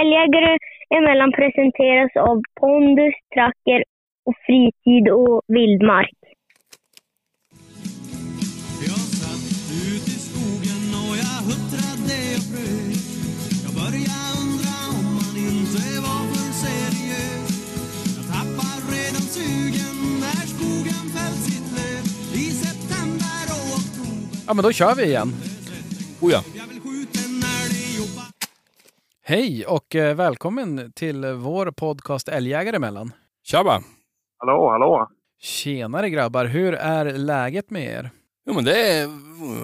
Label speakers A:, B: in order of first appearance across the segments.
A: Älgjägare emellan presenteras av pondus, tracker och fritid och vildmark.
B: Jag satt ut i skogen och jag huttrade och frös Jag började undra om man inte var för seriös Jag tappar redan sugen när skogen fällt sitt löv I september och oktober
C: Ja, men då kör vi igen.
D: Oh ja.
B: Jag vill skjuta en älg och ba-
C: Hej och eh, välkommen till vår podcast Älgjägare emellan.
D: Tjabba!
E: Hallå, hallå.
C: Tjenare grabbar, hur är läget med er?
D: Jo, men det är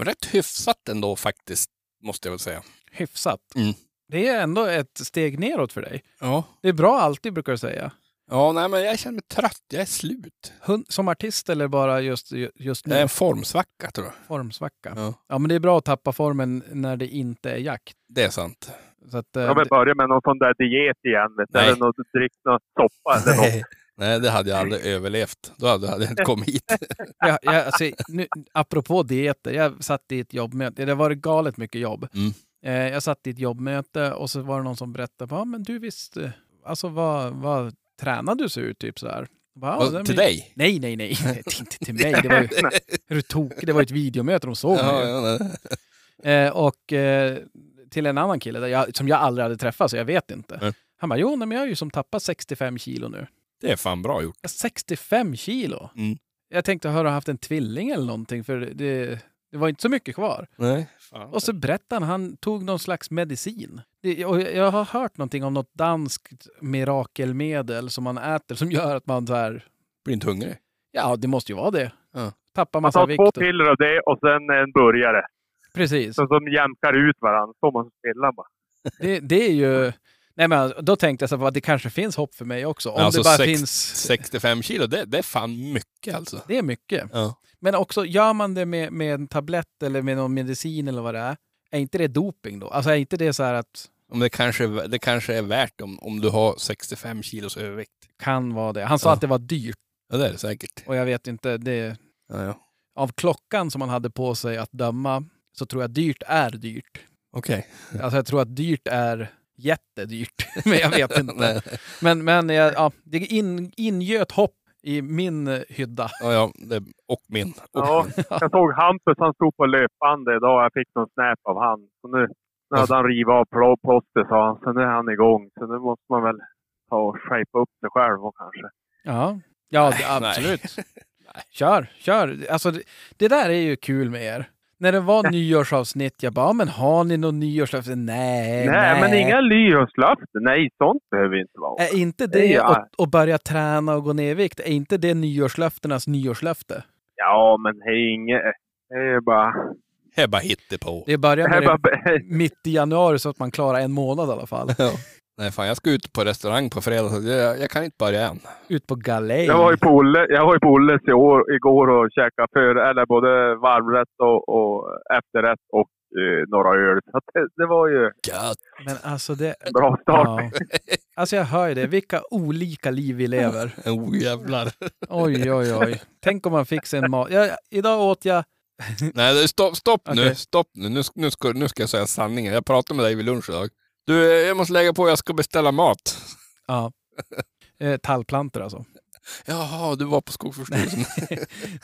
D: rätt hyfsat ändå faktiskt, måste jag väl säga.
C: Hyfsat.
D: Mm.
C: Det är ändå ett steg neråt för dig.
D: Ja.
C: Det är bra alltid brukar du säga.
D: Ja, nej, men jag känner mig trött. Jag är slut.
C: Hun- Som artist eller bara just, ju- just nu?
D: Det är en formsvacka, tror jag.
C: Formsvacka. Ja.
D: Ja.
C: men det är bra att tappa formen när det inte är jakt.
D: Det är sant.
C: Så att, eh,
E: Jag vill
C: det-
E: börja med någon sån där diet igen. Vet du?
D: Nej.
E: Eller något, drick någon soppa eller något.
D: Nej, det hade jag aldrig överlevt. Då hade jag inte kommit hit.
C: jag, jag, alltså, nu, apropå dieter, jag satt i ett jobbmöte. Det var galet mycket jobb.
D: Mm.
C: Eh, jag satt i ett jobbmöte och så var det någon som berättade, ja men du visst, eh, alltså vad, vad tränar du så ut typ sådär? Jag bara, "Ja,
D: Och
C: det är
D: till
C: min-"
D: dig?
C: Nej, nej, nej, Det är inte till mig. Det var ju, är du tokig? Det var ju ett videomöte, de såg mig ju.
D: Ja, ja, nej.
C: Eh, och eh, till en annan kille där jag, som jag aldrig hade träffat, så jag vet inte.
D: Nej.
C: Han bara, jo, nej, men jag har ju som tappat 65 kilo nu.
D: det är fan bra gjort.
C: Ja, 65 kilo?
D: Mm.
C: Jag tänkte, har du haft en tvilling eller någonting? För det, det var inte så mycket kvar.
D: Nej.
C: Och så berättade han, han tog någon slags medicin. Det, och jag har hört någonting om något danskt mirakelmedel som man äter som gör att man så här,
D: Blir inte hungrig?
C: ja, det måste ju vara det.
D: Ja.
C: Tappar
E: Man
C: massa
E: tar två
C: vikt. Och,
E: piller av det och sen en burgare.
C: precis.
E: Så de jämkar ut varandra. Så man stillar bara.
C: Det, det är ju... Nej, men då tänkte jag så här, vad, det kanske finns hopp för mig också. Om
D: Alltså
C: det bara
D: sex-
C: finns...
D: 65 kilo, det, det är fan mycket alltså.
C: Det är mycket.
D: Ja.
C: Men också, gör man det med, med en tablett eller med någon medicin eller vad det är, är inte det doping då? Alltså är inte det så här att
D: Om det, kanske, det kanske är värt om, om du har 65 kilos övervikt.
C: kan vara det? Han sa
D: Ja.
C: att det var dyrt
D: Ja, det är det säkert.
C: och jag vet inte, det,
D: Ja, ja.
C: av klockan som han hade på sig att döma så tror jag dyrt är dyrt.
D: Okej.
C: Alltså jag tror att dyrt är jättedyrt, men jag vet inte.
D: Nej.
C: Men, men jag- ja, det in, ingöt hopp i min eh, hydda.
D: Ja, ja, det, och min. Och
E: Ja, jag såg Hampus, han stod på löpbandet idag. Jag fick någon snap av han. Så nu, nu hade han rivit av plå- plåster sa han. Så nu är han igång. Så nu måste man väl ta och shapea upp det själv och kanske.
C: Ja, ja
D: Nej,
C: det-
D: nej.
C: absolut. Kör, kör. Alltså, det, det där är ju kul med er. När det var nyårsavsnitt, jag bara, "Ja, men har ni någon nyårslöfte? Eh, Nej, Eh,
E: Nej, men inga lyonslöften. Nej, sånt behöver vi inte vara.
C: Är inte det
E: Ja.
C: att, att börja träna och gå ner i vikt, är inte det nyårslöftenas nyårslöfte?
E: Ja, men det är inget. Det är bara...
D: Det är bara hittepå.
C: Det
E: Det
C: börjar
E: är
C: med det
E: bara...
C: mitt i januari så att man klarar en månad i alla fall.
D: Ja. Nej, fan jag ska ut på restaurang på fredag, så jag, jag kan inte börja än.
C: Ut på galej.
E: Jag var ju på Olle, jag var ju på Olles i år, igår och käkade för, eller både varmrätt och, och efterrätt och eh, några öl. Så att det, det var ju
D: Gött.
C: Men alltså det...
E: en bra start.
C: Ja. Alltså jag hör ju det, vilka olika liv vi lever.
D: Oh, jävlar.
C: Oj, oj, oj. Tänk om man fick sig en mat. Ja, idag åt jag
D: Nej, det- stopp, stopp nu.
C: Okej.
D: Stopp nu. Nu, ska- nu, ska, nu ska jag säga sanningen. Jag pratade med dig vid lunch idag. Du, eh, jag måste lägga på. Jag ska beställa mat.
C: Ja. Eh, tallplantor alltså.
D: Jaha, du var på Skogsvårdsstyrelsen.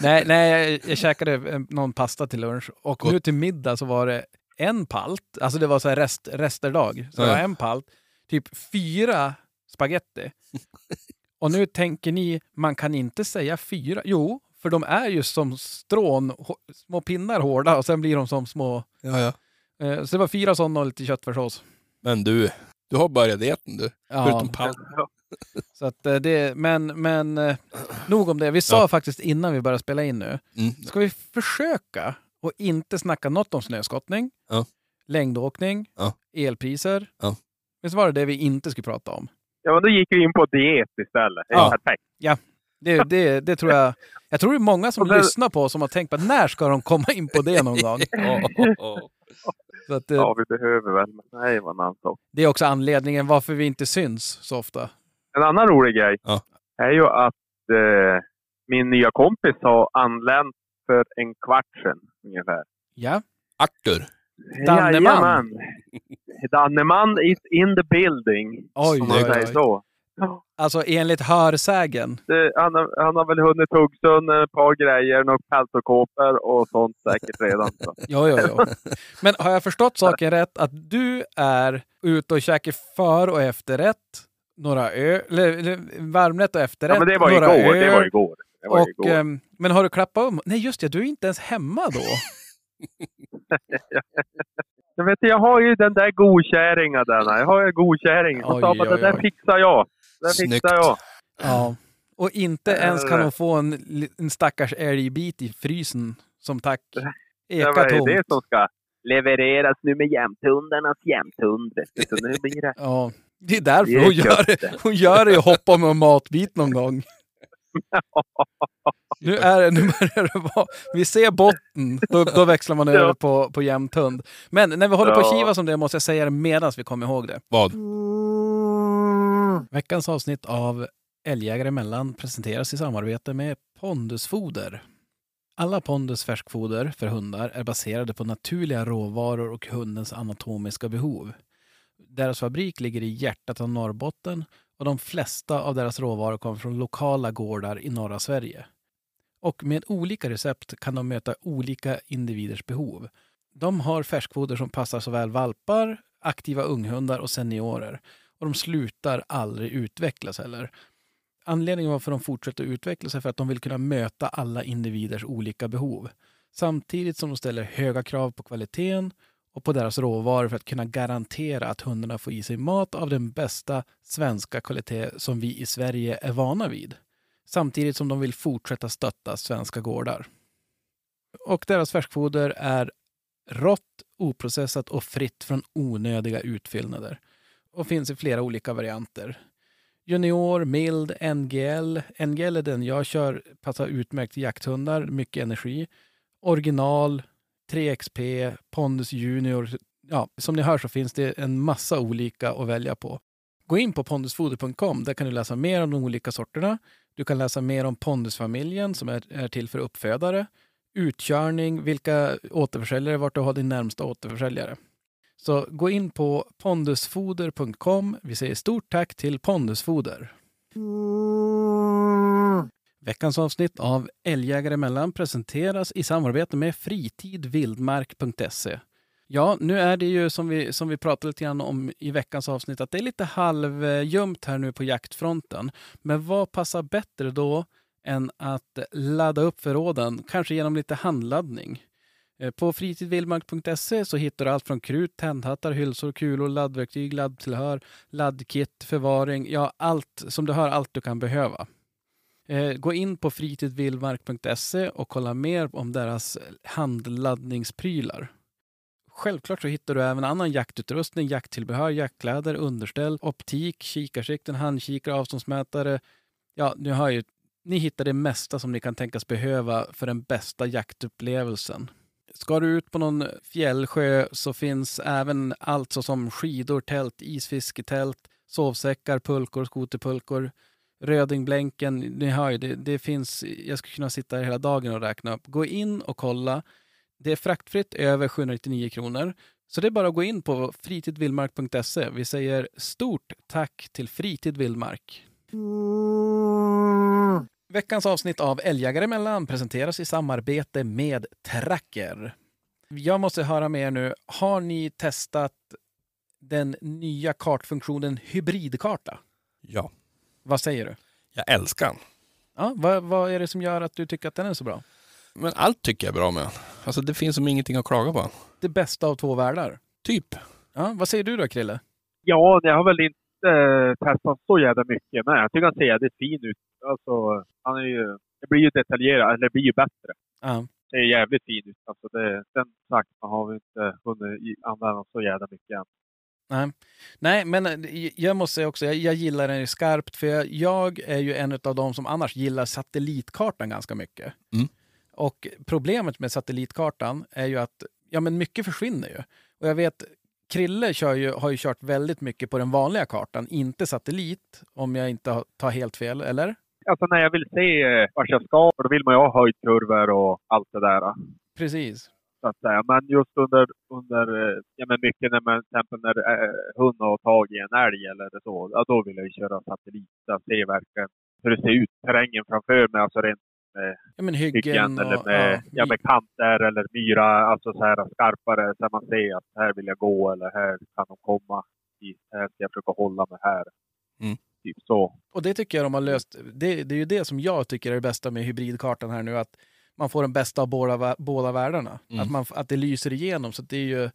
C: Nej, nej jag, jag käkade eh, någon pasta till lunch och
D: Gott.
C: nu till middag så var det en palt, alltså det var så här rest, resterdag, så det var
D: Ja.
C: en palt, typ fyra spaghetti. Och nu tänker ni, man kan inte säga fyra. Jo, för de är ju som strån, hå- små pinnar hårda och sen blir de som små...
D: ja, ja.
C: Eh, så det var fyra sådana och lite köttfärssås.
D: Men du, du har börjat dieten du.
C: Ja,
D: Förutom palt.
C: så att eh, det, men, men eh, nog om det. Vi sa
D: Ja.
C: faktiskt innan vi började spela in nu,
D: Mm.
C: Ska vi försöka och inte snacka något om snöskottning,
D: Ja.
C: längdåkning,
D: Ja.
C: elpriser?
D: Ja.
C: Visst var det det vi inte skulle prata om?
E: Ja, men då gick vi in på diet istället. Det är
C: Ja.
E: perfekt.
C: Det, det, det tror jag... Jag tror det är många som
E: Och det-
C: lyssnar på som har tänkt på när ska de komma in på det någon gång?
D: Ja, ja, ja.
C: Så att, eh,
E: Ja, vi behöver väl. Men nej, vad en annan sak.
C: Det är också anledningen varför vi inte syns så ofta.
E: En annan rolig grej
D: Ja.
E: är ju att eh, min nya kompis har anlänt för en kvart sedan ungefär.
C: Ja,
D: Artur.
C: Danneman.
E: Jajamän. Danneman is in the building.
C: Oj,
E: Om man
C: oj,
E: säger
C: oj.
E: så.
C: Alltså enligt hörsägen.
E: Det, han, har- han har väl hunnit hugga sönder ett par grejer, några peltokåpor och sånt säkert redan. Så.
C: Jo, jo, jo. Men har jag förstått saken rätt att du är ute och käkar för och efterrätt, några ö, eller, eller varmrätt och efterrätt,
E: Ja, men det var
C: några
E: igår.
C: öl,
E: Det var igår. Det var
C: och,
E: igår.
C: ehm, men har du klappat om? Nej, just det, du är inte ens hemma då.
E: Jag, vet, jag har ju den där godkärringen denna. Jag har ju godkärringen.
C: Oj,
E: Hon sa bara,
C: oj,
E: det där
C: oj.
E: fixar jag. Det där
D: Snyggt.
E: fixar jag.
C: Ja. Och inte
E: Ja,
C: ens
E: det
C: kan
E: där.
C: hon få en, li- en stackars älgbit i frysen som tack.
E: Det
C: Eka
E: var
C: tomt.
E: ju det som ska levereras nu med jämthundarnas jämthund. vet du. Så nu blir det...
C: Ja. Det är därför
E: Det
C: hon
E: är
C: gör
E: gött
C: det. Hon gör det ju hoppa med en matbit någon gång. Nu, är det, nu börjar det vara... Vi ser botten, då, då växlar man över
E: Ja.
C: på, på jämthund. Men när vi håller på att
E: Ja.
C: kivas om det måste jag säga det medan vi kommer ihåg det.
D: Vad?
C: Veckans avsnitt av Älgjägare emellan presenteras i samarbete med Pondusfoder. Alla Pondus färskfoder för hundar är baserade på naturliga råvaror och hundens anatomiska behov. Deras fabrik ligger i hjärtat av Norrbotten och de flesta av deras råvaror kommer från lokala gårdar i norra Sverige. Och med olika recept kan de möta olika individers behov. De har färskfoder som passar såväl valpar, aktiva unghundar och seniorer och de slutar aldrig utvecklas heller. Anledningen varför de fortsätter utvecklas är för att de vill kunna möta alla individers olika behov. Samtidigt som de ställer höga krav på kvaliteten och på deras råvaror för att kunna garantera att hundarna får i sig mat av den bästa svenska kvalitet som vi i Sverige är vana vid. Samtidigt som de vill fortsätta stötta svenska gårdar. Och deras färskfoder är rått, oprocessat och fritt från onödiga utfyllnader och finns i flera olika varianter. Junior, mild, NGL. NGL är den jag kör, passar utmärkt till jakthundar, mycket energi. Original, 3XP, Pondus Junior. Ja, som ni hör så finns det en massa olika att välja på. Gå in på pondusfoder.com. Där kan du läsa mer om de olika sorterna. Du kan läsa mer om pondusfamiljen som är, är till för uppfödare, utkörning, vilka återförsäljare, vart du har din närmsta återförsäljare. Så gå in på pondusfoder.com. Vi säger stort tack till Pondusfoder. Veckans avsnitt av Älgjägare emellan presenteras i samarbete med fritidvildmark.se. Ja, nu är det ju som vi, som vi pratade lite grann om i veckans avsnitt att det är lite halvljumt här nu på jaktfronten. Men vad passar bättre då än att ladda upp förråden, kanske genom lite handladdning? Eh, På fritidvildmark.se så hittar du allt från krut, tändhattar, hylsor, kulor, laddverktyg, laddtillhör, laddkit, förvaring. Ja, allt som du hör, allt du kan behöva. Eh, Gå in på fritidvildmark.se och kolla mer om deras handladdningsprylar. Självklart så hittar du även annan jaktutrustning, jakttillbehör, jaktkläder, underställ, optik, kikarsikten, handkikare, avståndsmätare. Ja, ni hör ju, ni hittar det mesta som ni kan tänkas behöva för den bästa jaktupplevelsen. Ska du ut på någon fjällsjö så finns även allt såsom skidor, tält, isfisketält, sovsäckar, pulkor, skoterpulkor, Rödingbänken, ni hör ju, det, det finns, jag skulle kunna sitta här hela dagen och räkna upp. Gå in och kolla. Det är fraktfritt över 799 kronor. Så det är bara att gå in på fritidvildmark.se. Vi säger stort tack till Fritid Vildmark. Veckans avsnitt av Älgjägare emellan presenteras i samarbete med Tracker. Jag måste höra med er nu, har ni testat den nya kartfunktionen hybridkarta?
D: Ja.
C: Vad säger du?
D: Jag älskar den.
C: Ja, vad, vad är det som gör att du tycker att den är så bra?
D: Men allt tycker jag är bra med den. Alltså det finns som ingenting att klaga på.
C: Det bästa av två världar.
D: Typ.
C: Ja, vad säger du då, Krille?
E: Ja, jag har väl inte eh, testat så jävla mycket, men jag tycker han ser jävligt fin ut. Alltså, han är ju... Det blir ju detaljerat, eller det blir ju bättre.
C: Ja.
E: Det är jävligt fin ut. Alltså, det, den saxen har vi inte hunnit i- använda så jävla mycket än.
C: Nej, men eh, jag måste säga också, jag, jag gillar den ju skarpt för jag, jag är ju en av de som annars gillar satellitkartan ganska mycket.
D: Mm.
C: Och problemet med satellitkartan är ju att ja, men mycket försvinner ju. Och jag vet, Krille kör ju, har ju kört väldigt mycket på den vanliga kartan, inte satellit, om jag inte har- tar helt fel, eller?
E: Alltså när jag vill se eh, vart jag ska, då vill man ju ha höjdkurvor och allt det där.
C: Precis.
E: så att säga. Men just under, under eh, ja, men mycket när man, till exempel när eh, hunden har tag i en älg eller så, ja, då vill jag ju köra satellit. Jag ser verkligen hur det ser ut, terrängen framför mig, alltså rent
C: Ja, men hyggen
E: hyggen
C: och...
E: eller med, ja.
C: ja,
E: med kanter eller myra, alltså så här skarpare, så man ser att här vill jag gå eller här kan de komma. hit, Här ska jag försöka hålla mig här.
D: Mm.
E: Typ så.
C: Och det tycker jag de har löst. Det, det är ju det som jag tycker är det bästa med hybridkartan här nu, att man får den bästa av båda, vä- båda världarna.
D: Mm.
C: Att, man, f- att det lyser igenom, så att det är ju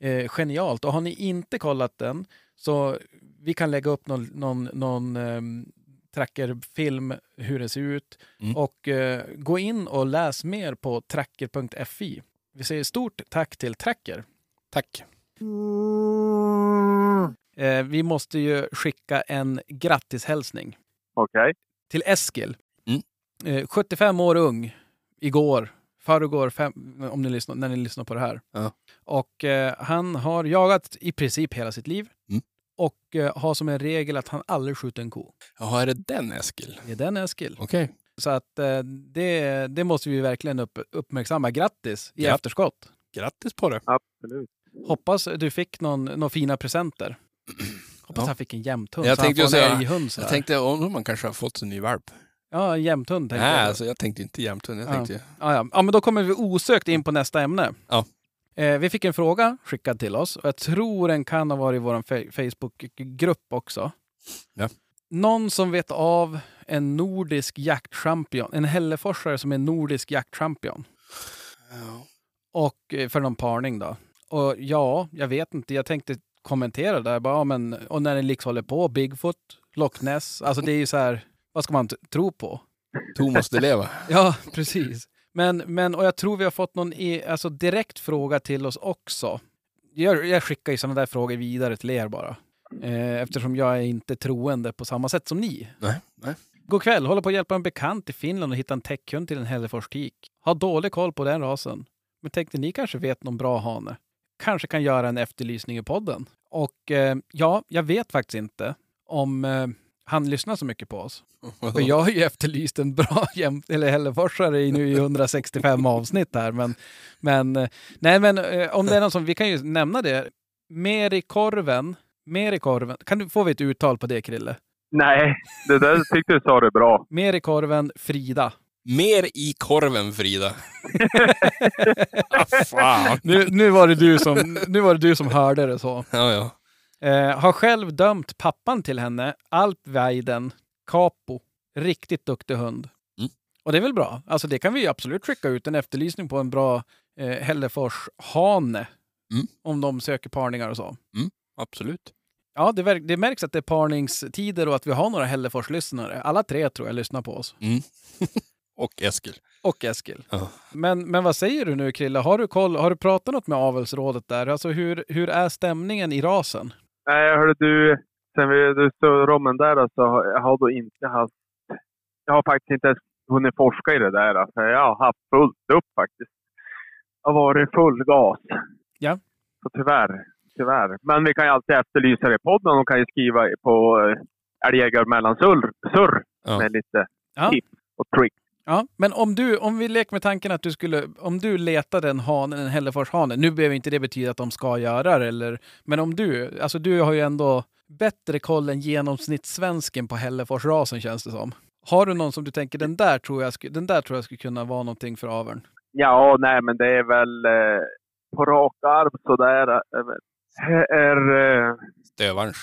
C: eh, genialt. Och har ni inte kollat den, så vi kan lägga upp någon, någon, någon ehm, trackerfilm, hur det ser ut.
D: Mm.
C: Och eh, gå in och läs mer på tracker.fi. Vi säger stort tack till Tracker.
D: Tack.
C: Eh, vi måste ju skicka en grattishälsning.
E: Okej.
C: till Eskil.
D: Mm.
C: Eh, 75 år ung, igår, förrgår, fem, om ni lyssnar, när ni lyssnar på det här.
D: Ja.
C: Och eh, han har jagat i princip hela sitt liv.
D: Mm.
C: Och eh, har som en regel att han aldrig skjuter en ko.
D: Jaha, är det den Eskil?
C: Det är den Eskil.
D: Okej.
C: Så att eh, det, det måste vi verkligen upp, uppmärksamma. Grattis i
D: Gratt-
C: efterskott.
D: Grattis på det.
E: Absolut.
C: Hoppas du fick någon, någon fina presenter. Hoppas
D: Ja.
C: han fick en jämthund.
D: Jag
C: så han
D: tänkte
C: får
D: ju
C: en
D: säga-
C: älghund så
D: Jag
C: här.
D: tänkte om man kanske har fått en ny valp.
C: Ja, en jämthund tänkte
D: Nej,
C: jag.
D: alltså jag tänkte inte jämthund. Jag
C: Ja.
D: tänkte
C: Ja, ja. ja, men då kommer vi osökt in på nästa ämne.
D: Ja.
C: Eh, vi fick en fråga skickad till oss och jag tror den kan ha varit i vår fe- Facebookgrupp också.
D: Ja.
C: Någon som vet av en nordisk jaktchampion, en hälleforsare som är nordisk jaktchampion.
D: Ja.
C: Och eh, för någon parning då. Och ja, jag vet inte, jag tänkte kommentera där bara, ja, men, och när ni liksom håller på, Bigfoot, Loch Ness, alltså det är ju så här, vad ska man t- tro på?
D: Thomas de Leva.
C: Ja, precis. Men, men, och jag tror vi har fått någon e, alltså direkt fråga till oss också. Jag, jag skickar ju sådana där frågor vidare till er bara. Eh, eftersom jag är inte troende på samma sätt som ni.
D: Nej, nej.
C: God kväll, håller på att hjälpa en bekant i Finland att hitta en täckhund till en hälleforstik. Har dålig koll på den rasen. Men tänkte ni kanske vet någon bra hane? Kanske kan göra en efterlysning i podden. Och eh, ja, jag vet faktiskt inte om eh, han lyssnar så mycket på oss. För jag har ju efterlyst en bra jäm- eller hälleforsare i nu i 165 avsnitt här. Men, men, eh, nej, men eh, om det är någon som, vi kan ju nämna det. Merikorven, Merikorven, kan du, får vi ett uttal på det Krille?
E: Nej, det där tyckte du sa det bra.
C: Merikorven Frida.
D: Mer i korven, Frida. ah, fan.
C: Nu, nu, var det du som, nu var det du som hörde det så.
D: Ja, ja.
C: Eh, har själv dömt pappan till henne, Alpweiden, Capo. Riktigt duktig hund.
D: Mm.
C: Och det är väl bra? Alltså det kan vi ju absolut skicka ut en efterlysning på en bra eh, Hällefors-hane.
D: Mm.
C: Om de söker parningar och så.
D: Absolut.
C: Ja, det, verk- det märks att det är parningstider och att vi har några Hällefors-lyssnare. Alla tre tror jag lyssnar på oss.
D: Och Eskil.
C: Och Eskil.
D: Ja.
C: Men, men vad säger du nu Krille? Har du, koll, har du pratat något med avelsrådet där? Alltså hur, hur är stämningen i rasen?
E: Nej, hörde du. Sen vi, du stod rommen där alltså, jag har då inte haft... Jag har faktiskt inte ens hunnit forska i det där. Alltså. Jag har haft fullt upp faktiskt. Jag har varit full gas.
C: Ja.
E: Så tyvärr. Tyvärr. Men vi kan ju alltid efterlysa det i podden. De kan ju skriva på eh, älgjägare mellan surr surr
D: Ja.
E: med lite
C: Ja.
E: tips och tricks.
C: Ja, men om du, om vi leker med tanken att du skulle, om du letade en hanen, en Hälleforshane, nu behöver inte det betyda att de ska göra det, eller, men om du, alltså du har ju ändå bättre koll än genomsnittssvensken på Hälleforsrasen känns det som. Har du någon som du tänker, den där tror jag, sku- den där tror jag skulle kunna vara någonting för aveln?
E: Ja, nej men det är väl eh, på rak arm sådär. eh, Här är... Eh,
D: Dövarns.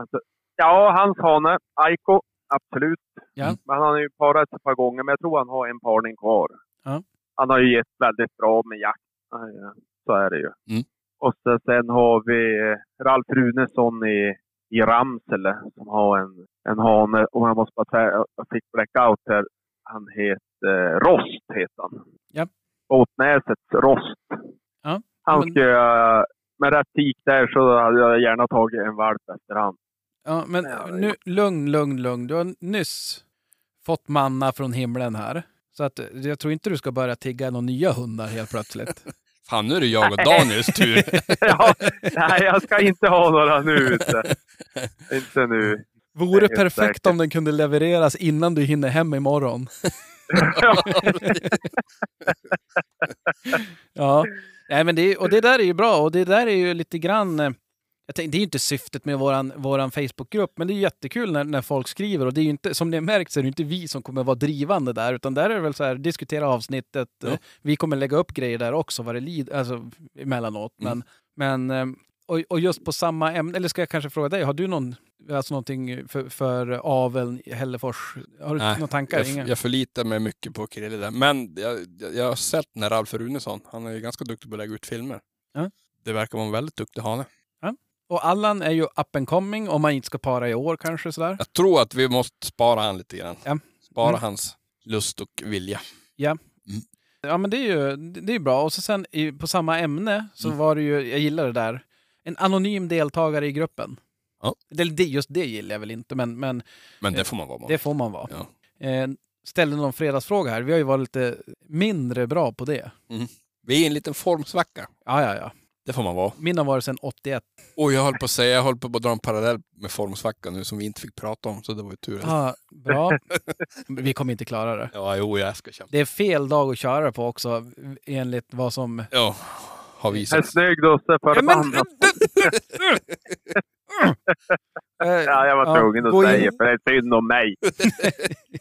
E: Alltså, ja, hans hane, Aiko, absolut.
C: Ja.
E: Men han har ju parat ett par gånger, men jag tror han har en parning kvar.
C: Ja.
E: Han har ju gett väldigt bra med jakt. Eh, Så är det ju.
D: Mm.
E: Och så, sen har vi eh, Ralf Runesson i, i Ramsele som har en, en hane. Och jag måste bara säga, jag fick blackout här. Han heter eh, Rost, heter han.
C: Ja.
E: Båtnäsets Rost.
C: Ja,
E: Han
C: men-
E: ska jag- med rätt tik där så hade jag gärna tagit en valp efter han.
C: Ja, men
E: Ja, det-
C: nu, lugn, lugn, lugn. Du har nyss fått manna från himlen här. Så att, jag tror inte du ska börja tigga några nya hundar helt plötsligt.
D: Fan, nu är det jag och Daniels tur.
E: ja, nej, jag ska inte ha några nu. Inte, inte nu.
C: Vore
E: Helt
C: perfekt
E: säkert.
C: om den kunde levereras innan du hinner hem imorgon. Ja. Nej, men det, är- och det där är ju bra och det där är ju lite grann... eh, Jag tänkte, det är ju inte syftet med våran, våran Facebookgrupp, men det är jättekul när, när folk skriver och det är ju inte, som ni har märkt så är det ju inte vi som kommer vara drivande där, utan där är det väl så här, diskutera avsnittet.
D: Ja.
C: eh, Vi kommer lägga upp grejer där också vad det lider, alltså emellanåt.
D: Mm.
C: Men, men, eh, och, och just på samma ämne, eller ska jag kanske fråga dig, har du någon, alltså någonting för, för aveln i Hällefors? Har du
D: Nej,
C: några tankar?
D: Jag,
C: Inga?
D: jag förlitar mig mycket på Krille där. Men jag, jag, jag har sett när Ralf Runesson, han är ju ganska duktig på att lägga ut filmer.
C: Ja.
D: Det verkar vara en väldigt duktig hane.
C: Och Allan är ju up and coming, om man inte ska para i år kanske sådär.
D: Jag tror att vi måste spara han lite grann.
C: Ja.
D: Spara
C: Mm.
D: hans lust och vilja.
C: Ja, men det är ju det är ju bra. Och så sen i, på samma ämne så
D: Mm.
C: var det ju, jag gillar det där, en anonym deltagare i gruppen.
D: Ja.
C: Det, det, just det gillar jag väl inte, men, men
D: Men det
C: Ja.
D: får man vara med
C: det får man vara.
D: Ja.
C: Eh, ställde någon fredagsfråga här. Vi har ju varit lite mindre bra på det.
D: Vi är i en liten formsvacka.
C: Ja, ja, ja.
D: Det får man vara.
C: Min har varit sedan 81.
D: Och jag höll på att säga, jag höll på att dra en parallell med formsvackan nu som vi inte fick prata om, så det var ju tur.
C: Ja, Ah, bra. Vi kommer inte klara det.
D: Ja, jo, jag ska kämpa.
C: Det är fel dag att köra på också, enligt vad som...
D: Ja, har
E: En
D: visat.
E: snygg dusse
C: Ja, men...
E: förbannat. Ja, jag var tvungen
C: gå
E: att
C: in-
E: säga för det är synd om mig.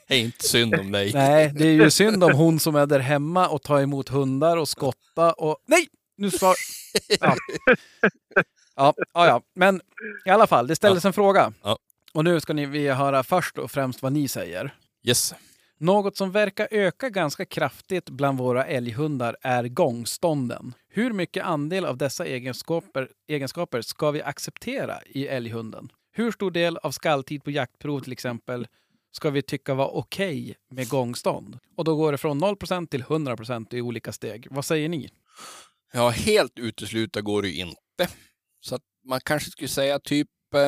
D: Det är inte synd om dig.
C: Nej, det är ju synd om hon som är där hemma och tar emot hundar och skotta och... Nej! Nu svar... Ja. Ja, ja, ja, men i alla fall, det ställdes en fråga.
D: Ja.
C: Och nu ska ni vi höra först och främst vad ni säger.
D: Yes.
C: Något som verkar öka ganska kraftigt bland våra älghundar är gångstånden. Hur mycket andel av dessa egenskaper, egenskaper ska vi acceptera i älghunden? Hur stor del av skalltid på jaktprov till exempel ska vi tycka var okej med gångstånd? Och då går det från 0% till 100% i olika steg. Vad säger ni?
D: Ja, helt utesluta går det ju inte. Så att man kanske skulle säga typ, eh,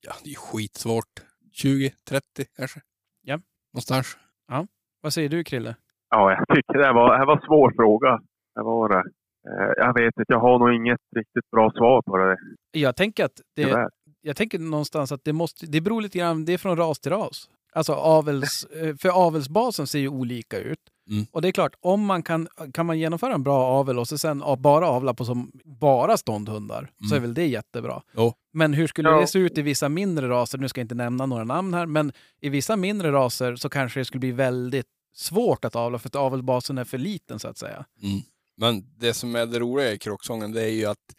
D: ja, det är skitsvårt. 20, 30 kanske.
C: Ja.
D: Någonstans.
C: Vad säger du Krille?
E: Ja, jag tycker det var, det var en svår fråga. Det var det. Eh, Jag vet inte, jag har nog inget riktigt bra svar på det
C: Jag tänker att det,
E: tyvärr.
C: jag tänker någonstans att det, måste, det beror lite grann, det är från ras till ras. Alltså avels, eh, för avelsbasen ser ju olika ut.
D: Mm.
C: Och det är klart, om man kan, kan man genomföra en bra avel och så sen av- bara avla på som bara ståndhundar så är
D: Mm.
C: väl det jättebra.
D: Jo.
C: Men hur skulle
E: Ja.
C: det se ut i vissa mindre raser? Nu ska jag inte nämna några namn här, men i vissa mindre raser så kanske det skulle bli väldigt svårt att avla för att avelsbasen är för liten så att säga.
D: Men det som är det roliga i kråksången, det är ju att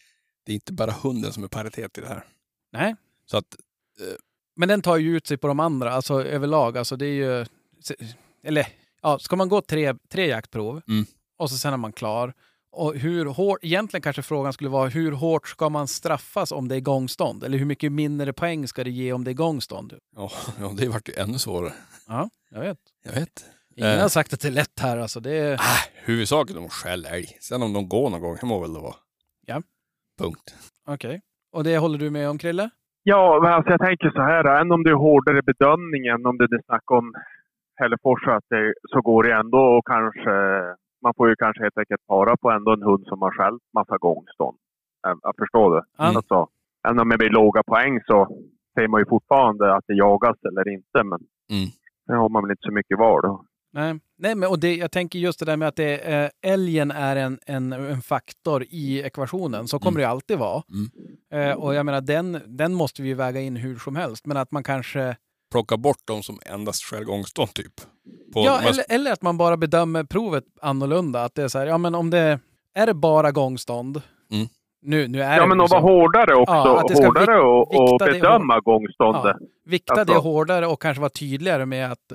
D: det är inte bara hunden som är paritet i det här.
C: Nej.
D: Så att,
C: Men den tar ju ut sig på de andra, alltså överlag. Alltså det är ju... Eller, ja, ska man gå tre, tre jaktprov
D: Mm.
C: och så sen är man klar. Och hur hårt, egentligen kanske frågan skulle vara hur hårt ska man straffas om det är gångstånd? Eller hur mycket mindre poäng ska det ge om det är gångstånd?
D: ja, ja det vart ju ännu svårare.
C: Ja, jag vet.
D: Jag vet.
C: Ingen
D: Eh.
C: har sagt att det är lätt här alltså. Det är,
D: Ah, huvudsaken är att de skäller älg. Sen om de går någon gång, det må väl det vara.
C: Ja.
D: Punkt.
C: Okej. Och det håller du med om Krille?
E: Ja, men alltså jag tänker så här. Än om det är hårdare bedömning än om det är snack om Hällefors att det, så går det ändå och kanske... Man får ju kanske helt enkelt para på ändå en hund som har skällt massa gångstånd. Jag, jag förstår det.
C: Mm.
E: Alltså, även om det blir låga poäng så ser man ju fortfarande att det jagas eller inte. Men
D: Mm.
E: det har man väl inte så mycket val då.
C: Nej, Nej men och det, jag tänker just det där med att det, eh, älgen är en, en, en faktor i ekvationen. Så kommer det alltid vara. Eh, och jag menar, den, den måste vi ju väga in hur som helst. Men att man kanske...
D: Plocka bort de som endast skäller gångstånd typ. På
C: Ja,
D: de här-
C: eller, eller att man bara bedömer provet annorlunda. Att det är så här, ja men om det... Är det bara gångstånd?
D: Mm.
C: Nu, nu är
E: Ja,
C: det
E: men
C: ju
E: att
C: så.
E: vara hårdare också.
C: Ja, att det ska
E: hårdare och, och
C: vikta det
E: bedöma gångståndet.
C: Vikta det
E: Alltså-
C: hårdare och kanske vara tydligare med att...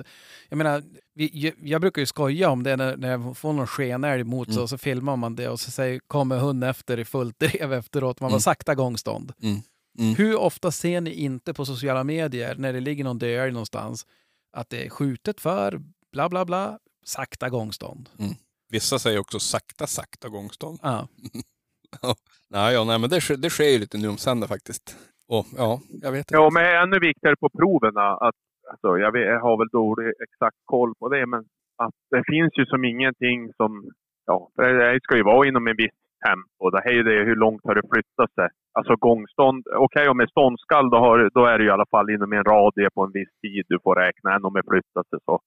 C: Jag menar, vi, jag- jag brukar ju skoja om det när, när jag får någon skenälg emot
D: Mm.
C: sig och så filmar man det och så säger, kommer hunden efter i fullt drev efteråt. Man var
D: Mm.
C: sakta gångstånd.
D: Mm. Mm.
C: Hur ofta ser ni inte på sociala medier när det ligger någon död någonstans att det är skjutet för bla bla bla, sakta gångstånd?
D: Vissa säger också sakta, sakta gångstånd.
C: Ja.
D: Nej, ja, nej men det, sker- det sker ju lite nu om sända faktiskt. Och, ja, jag vet inte.
E: Ja, men ännu viktigare på proven. Att, alltså, jag, vet, jag har väl dålig exakt koll på det, men att det finns ju som ingenting som... Ja, det det ska ju vara inom en viss tempo. Det här är ju det, hur långt har det flyttat sig? Alltså gångstånd. Okej, om det är ståndskall då, har, då är det ju i alla fall inom en radie på en viss tid du får räkna. Än om det flyttat sig så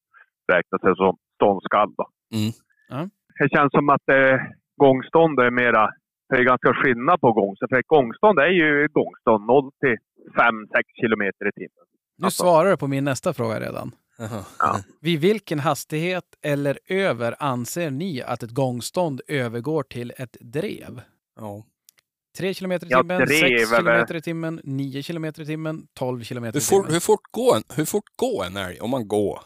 E: räknas det som ståndskall. Då.
D: Mm.
C: Ja.
E: Det känns som att det, gångstånd är mera... Det är ganska skillnad på gångstånd. För ett gångstånd är ju gångstånd 0 till 5-6 kilometer i timmen. Alltså,
C: Nu
D: Alltså-
C: svarar du på min nästa fråga redan.
D: Jaha.
C: Vid vilken hastighet eller över anser ni att ett gångstånd övergår till ett drev?
D: Ja.
C: 3 km i
E: Ja,
C: timmen,
E: drev
C: 6
E: eller-
C: km i timmen, 9 km i timmen, 12 km i
D: Hur, fort,
C: timmen.
D: hur, fort går en, hur fort går en älg om man går?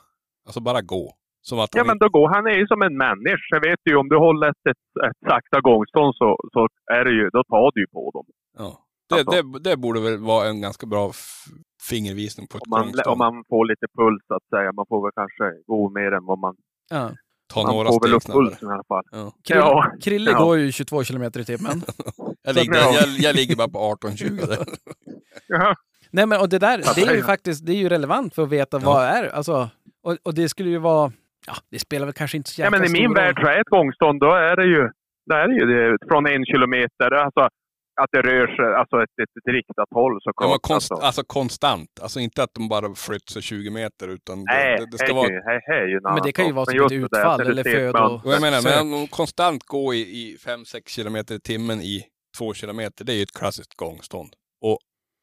D: Alltså bara gå. Som att
E: Ja,
D: han
E: men då går han är ju som en människa. Jag vet ju, om du håller ett, ett, ett sakta gångstånd så, så är det ju, då tar du ju på dem.
D: Ja. Det,
E: alltså
D: det, det borde väl vara en ganska bra f- fingervisning på ett
E: Om man,
D: gångstånd.
E: om man får lite puls så att säga. Man får väl kanske gå mer än vad man...
C: Ja.
D: Ta
E: man
D: några
E: får väl
D: steg
E: upp
D: snabbare.
E: pulsen i alla fall.
D: Ja.
C: Krille,
E: Ja.
C: Krille
E: Ja.
C: går ju 22 km i timmen.
D: Jag, ligger,
E: Ja.
D: jag, jag ligger bara på 18-20 där.
E: Ja.
C: Nej, men och det där det är ju
E: Absolut.
C: faktiskt det är ju relevant för att veta
D: Ja.
C: vad är alltså. Och, och det skulle ju vara, ja, det spelar väl kanske inte så
E: Ja,
C: jäkla
E: men i
C: stor
E: min
C: roll.
E: värld så är ett gångstånd, då är det ju, då är det ju det, från en kilometer. Alltså att det rör sig, alltså ett, ett, ett riktat håll såklart.
D: Ja, men konst,
E: alltså.
D: alltså konstant. Alltså inte att de bara flyttar sig 20 meter utan det,
E: Nej,
D: det, det
E: det
D: ska
E: är
D: vara...
E: ju, det är ju en
C: Men det
E: annan
C: kan ju
E: sak.
C: vara
E: Men
C: som ett
E: just det där,
C: utfall
E: så det
C: eller
E: ser ett
C: födo.
D: Och jag menar,
C: Sök.
D: men om konstant gå i, i 5-6 kilometer i timmen i 2 kilometer, det är ju ett klassiskt gångstånd. Och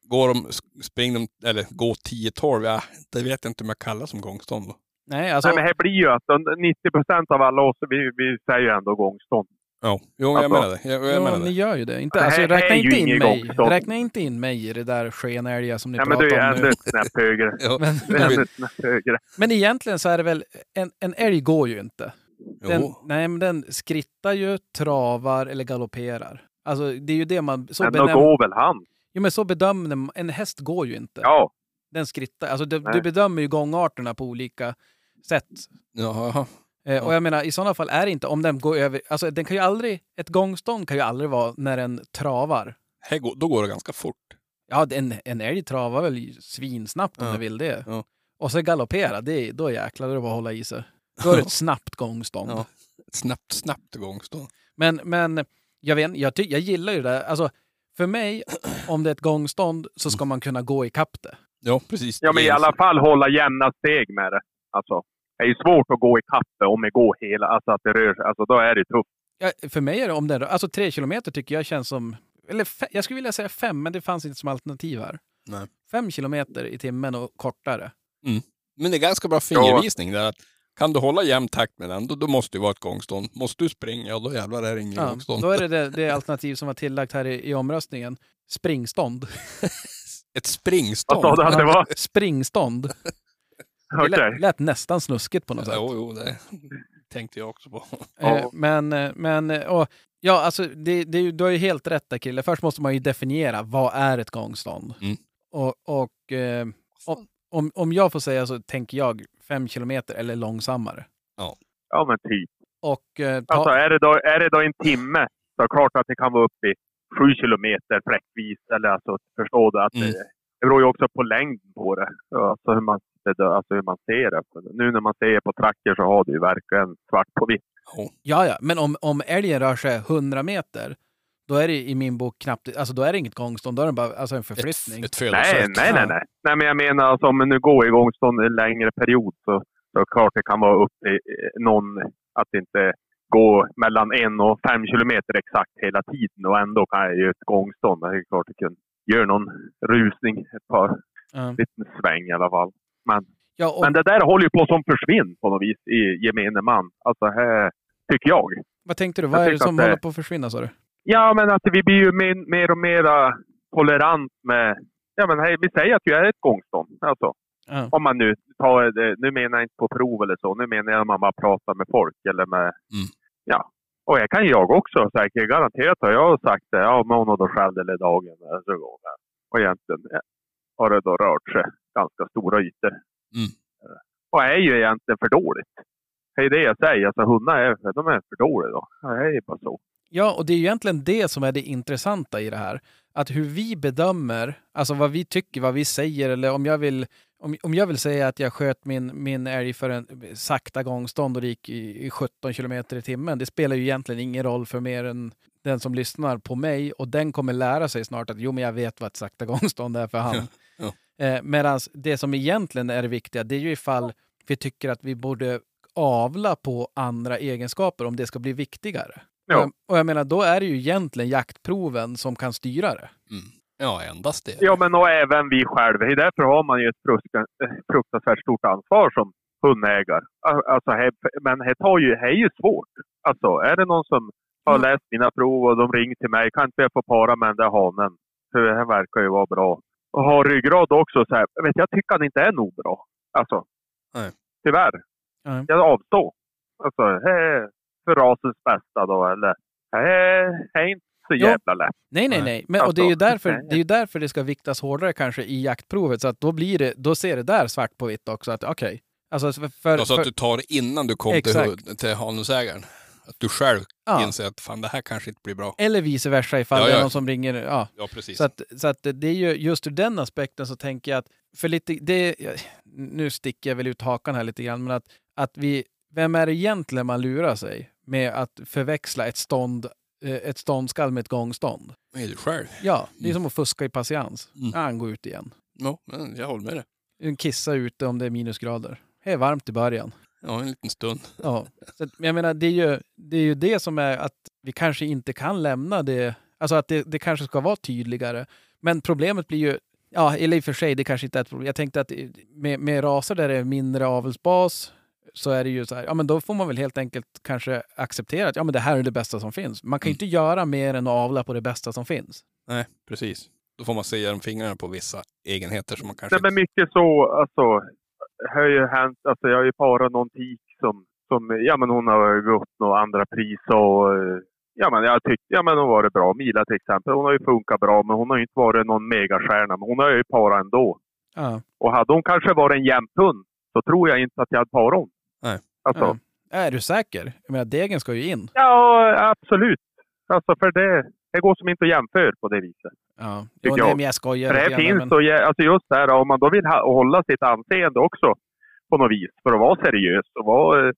D: går de, springer de, eller går 10-12, ja, det vet jag inte om jag kallar som gångstånd. Då.
C: Nej, alltså,
E: Nej, men här blir ju att de- 90 procent av alla oss, vi, vi säger ju ändå gångstånd.
D: Ja, jo, men jag
E: Alltså-
D: menar det. Jag, jag
C: ja,
D: menar
C: ni
D: det.
C: gör ju det. Inte,
E: Det här
C: alltså,
E: är
C: räkna
E: ju
C: inte in
E: ingen
C: mig.
E: gångstånd.
C: Räkna inte in mig i det där skenälga som ni
E: Nej, men du
C: pratar
E: är
C: om
E: ännu
C: nu.
E: ett snäpp högre.
D: Ja,
C: Men,
E: Det är
D: Jag
E: ännu
D: vet-
E: ett snäpp högre.
C: men egentligen så är det väl, en, en älg går ju inte. Den,
D: jo.
C: nej, men den skrittar ju, travar eller galopperar. Alltså, det är ju det man... Så
E: Men då
C: benämner,
E: går väl han?
C: jo, men så bedömer man... En häst går ju inte.
E: Ja.
C: Den skrittar. Alltså, du, du
E: Nej.
C: bedömer ju gångarterna på olika sätt.
D: Jaha.
C: Eh, och jag menar, i sådana fall är det inte om den går över... Alltså, den kan ju aldrig... Ett gångstånd kan ju aldrig vara när den travar.
D: Här går, då går det ganska fort.
C: Ja, en, en älg travar väl svinsnabbt om
D: Ja,
C: den vill det.
D: ja.
C: Och så galoppera, det, är- då jäklar, då är det bara att hålla i sig. Då är det ett snabbt gångstånd.
D: Ja. Ett snabbt, snabbt gångstånd.
C: Men, men jag, vet, jag, ty, jag gillar ju det där. Alltså, för mig, om det är ett gångstånd så ska man kunna gå ikapp det.
D: Ja, precis.
E: ja, men i alla fall hålla jämna steg med det. Alltså, det är ju svårt att gå i kapp det om det går hela, alltså att det rör sig. Alltså då är det tufft.
C: Ja, för mig är det om det Alltså tre kilometer tycker jag känns som... Eller fe, jag skulle vilja säga fem, men det fanns inte som alternativ här.
D: Nej.
C: Fem kilometer i timmen och kortare.
D: Men det är ganska bra fingervisning där. Att kan du hålla jämn takt med den, då, då måste det vara ett gångstånd. Måste du springa, ja, då jävlar är det ingen
C: Ja,
D: gångstånd.
C: då är det, det det alternativ som var tillagt här i, i omröstningen. Springstånd.
D: Ett
E: Vad sa
D: springstånd.
E: du att det var?
C: Springstånd. Det
E: Okej.
C: lät, lät nästan snuskigt på något sätt.
D: Jo, jo, det tänkte jag också på.
E: Ja.
C: Eh, Men, eh, men eh, och, ja, alltså, det, det, är ju- du har ju helt rätt där, Krille. Först måste man ju definiera vad är ett gångstånd.
D: Mm.
C: Och, och eh,
E: Alltså.
C: om- om, om jag får säga så tänker jag fem kilometer eller långsammare.
E: Ja, men typ.
C: Och eh, ta,
E: Alltså är det då, är det då en timme så är det klart att det kan vara uppe i sju kilometer fläckvis. Eller alltså, förstå det att
D: Mm.
E: det, det beror ju också på längden på det. Ja, Alltså hur man, det- alltså hur man ser det. För Nu när man ser på tracker så har det ju verkligen svart på vitt.
C: ja, ja, men om, om älgen rör sig 100 meter, då är det i min bok knappt, alltså då är det inget gångstånd, då är det bara alltså en förflyttning.
D: Ett, ett
E: Nej,
D: födosök.
E: nej, nej, nej. Nej, men jag menar alltså om det nu går igång sån en längre period så, så är det klart det kan vara upp till eh, någon att inte gå mellan en och fem kilometer exakt hela tiden och ändå kan jag ju ett gångstånd. Det är klart det kan göra någon rusning, ett par
C: Ja.
E: liten sväng i alla fall.
C: Ja, och,
E: Men det där håller ju på som försvinn på något vis i gemene man. Alltså, här, tycker jag.
C: vad tänkte du? Vad
E: jag
C: är det
E: tycker
C: som
E: att det-
C: håller på att försvinna, sa du?
E: Ja, men att vi blir ju mer, mer och mer tolerant med... Ja, men hej, vi säger att vi är ett gångstånd. Alltså.
C: Ja.
E: om man nu tar det, nu menar jag inte på prov eller så, nu menar jag om man bara pratar med folk eller med,
D: Mm.
E: ja. Och jag kan jag också säkert, garanterat har jag sagt det, ja månaden själv eller dagen eller så går det. Och egentligen ja, har det då rört sig ganska stora ytor. Eh,
D: Mm.
E: Och är ju egentligen för dåligt. Det är det jag säger, alltså hundar är, de är för dåliga då. Ja, Det är ju bara så.
C: Ja, och det är ju egentligen det som är det intressanta i det här. Att hur vi bedömer, alltså vad vi tycker, vad vi säger eller om jag vill, om, om jag vill säga att jag sköt min, min älg för en sakta gångstånd och det gick i, i 17 kilometer i timmen. Det spelar ju egentligen ingen roll för mer än den som lyssnar på mig och den kommer lära sig snart att jo, men jag vet vad ett sakta gångstånd är för han.
D: Ja,
C: Eh, Medan det som egentligen är det viktiga, det är ju ifall vi tycker att vi borde avla på andra egenskaper om det ska bli viktigare.
E: Ja.
C: Och- Ehm, Och jag menar, då är det ju egentligen jaktproven som kan styra det.
D: Ja, endast det.
E: Ja, men och även vi själva. Det är därför har man ju ett fruska- eh, fruktansvärt stort ansvar som hundägare. Al- Alltså, he- men det tar ju- det är ju svårt. Alltså, är det någon som har läst mina prov och de ringer till mig, kan inte jag få para med den där hanen? För det här verkar ju vara bra. Och har ryggrad också så här, vet, jag tycker han inte är nog bra. Alltså,
D: Nej.
E: tyvärr.
C: Nej.
E: Jag avstår. Alltså, det är för rasens bästa då, eller? Det är- det är inte så
C: Jo.
E: jävla lätt.
C: Nej, nej,
D: Nej.
C: nej. Men, och det är ju
E: Alltså,
C: därför
E: nej.
C: det, är ju därför det ska viktas hårdare kanske i jaktprovet. Så att då, blir det, då ser det där svart på vitt också. att Okej. Alltså, för, för,
D: Alltså att
C: för,
D: du tar det innan du kom till,
C: Exakt.
D: hund- till hanusägaren. Att du själv
C: ja.
D: inser att fan, det här kanske inte blir bra.
C: Eller vice versa ifall
D: Ja,
C: det är
D: ja.
C: någon som ringer. Ja.
D: Ja, precis.
C: Så, att, så att det är ju just ur den aspekten så tänker jag att, för lite, det, jag- nu sticker jag väl ut hakan här lite grann, men att, att vi, vem är det egentligen man lurar sig med att förväxla ett stånd eh, ett ståndskall med ett gångstånd.
D: Men är du själv?
C: Ja, det är
D: Mm.
C: som att fuska i patiens.
D: Mm.
C: Ja, han går ut igen.
D: Ja, men jag håller med dig.
C: En kissa ute om det är minusgrader. Det är varmt i början.
D: Ja, en liten stund.
C: Ja. Så att, men jag menar, det är, ju, det är ju det som är att vi kanske inte kan lämna det. Alltså att det, det kanske ska vara tydligare. Men problemet blir ju, ja, eller i och för sig, det kanske inte är ett problem. Jag tänkte att med, med raser där det är mindre avelsbas så är det ju så här, ja men då får man väl helt enkelt kanske acceptera att ja men det här är det bästa som finns. Man kan ju
D: Mm.
C: inte göra mer än att avla på det bästa som finns.
D: Nej, precis. Då får man se genom fingrarna på vissa egenheter som man kanske
E: Nej, men mycket så, alltså, har ju hänt, alltså jag har ju parat någon tik som, som, ja men hon har gått några andra pris och, eh, ja men jag tyckte, ja men hon var det bra. Mila till exempel, hon har ju funkat bra men hon har ju inte varit någon megastjärna. Men hon har jag ju parat ändå.
C: Ja.
E: Och hade hon kanske varit en jämthund så tror jag inte att jag hade parat hon.
D: Nej.
E: Alltså,
C: Ja. Är du säker? Jag menar, degen ska ju in.
E: ja absolut. Alltså för det, det går som inte att jämföra på det viset.
C: Ja, jo,
E: Tycker
C: nej,
E: jag.
C: men jag skojar.
E: För
C: lite
E: det
C: grann,
E: finns
C: men-
E: och, ge- alltså just det här om man då vill ha, hålla sitt anseende också på något vis för att vara seriös och vara eh,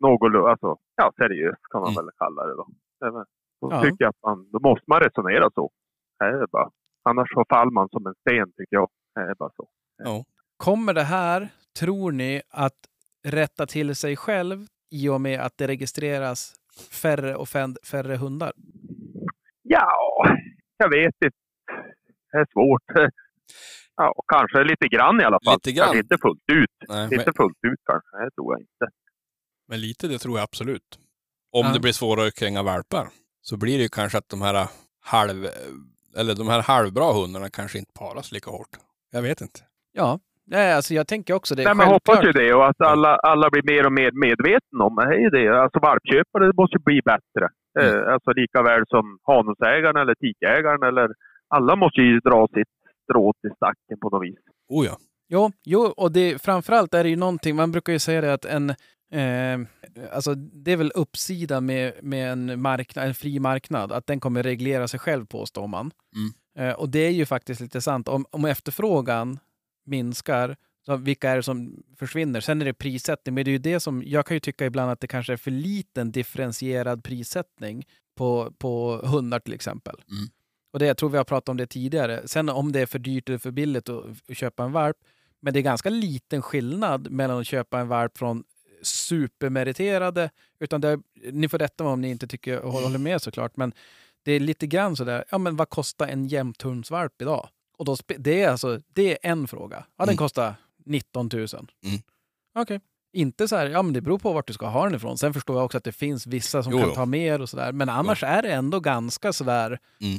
E: någorlunda, alltså ja seriös kan man
D: Mm.
E: väl kalla det då. Även, då
C: Ja.
E: tycker jag att man, då måste man resonera så. Det är bara, annars så faller man som en sten tycker jag. Det är bara så.
C: Kommer det här, tror ni, att rätta till sig själv i och med att det registreras färre och fän- färre hundar?
E: Ja, jag vet inte. Det är svårt. Ja, och kanske lite grann i alla fall.
D: Lite grann.
E: Kanske inte fullt ut.
D: Nej, men,
E: Inte fullt ut kanske. Det tror jag inte.
D: men lite det tror jag absolut. Om
C: Ja.
D: det blir svårare att kränga valpar så blir det ju kanske att de här eh, halv... Eller de här halvbra hundarna kanske inte paras lika hårt. Jag vet inte.
C: Ja, nej, alltså jag tänker också det.
E: Nej, men
C: Självklart.
E: hoppas ju det och att alla, alla blir mer och mer medvetna om det. det. Är ju det. Alltså valpköpare det måste ju bli bättre.
D: Mm.
E: Eh, alltså lika väl som hanusägaren eller tikägaren eller alla måste ju dra sitt strå till stacken på något vis.
D: Oh ja.
C: Jo, jo och det, framförallt är det ju någonting, man brukar ju säga det att en, eh, alltså det är väl uppsida med, med en, marknad, en fri marknad, att den kommer reglera sig själv påstår man. Eh, och det är ju faktiskt lite sant, om, om efterfrågan minskar, så vilka är det som försvinner? Sen är det prissättning, men det är ju det som, jag kan ju tycka ibland att det kanske är för liten differentierad prissättning på, på hundar till exempel.
D: Mm.
C: Och det, jag tror vi har pratat om det tidigare. Sen om det är för dyrt eller för billigt att att köpa en valp, men det är ganska liten skillnad mellan att köpa en valp från supermeriterade, utan det, ni får rätta mig om ni inte tycker och håller med såklart, men det är lite grann sådär, ja men vad kostar en jämthundsvalp idag? Och då, spe- det, är alltså, det är en fråga. Ja, den
D: Mm.
C: kostar 19 000. Okej. Inte så här, ja men det beror på vart du ska ha den ifrån. Sen förstår jag också att det finns vissa som
D: Jo,
C: kan
D: jo.
C: ta mer och sådär. Men annars är det ändå ganska sådär...
D: Mm.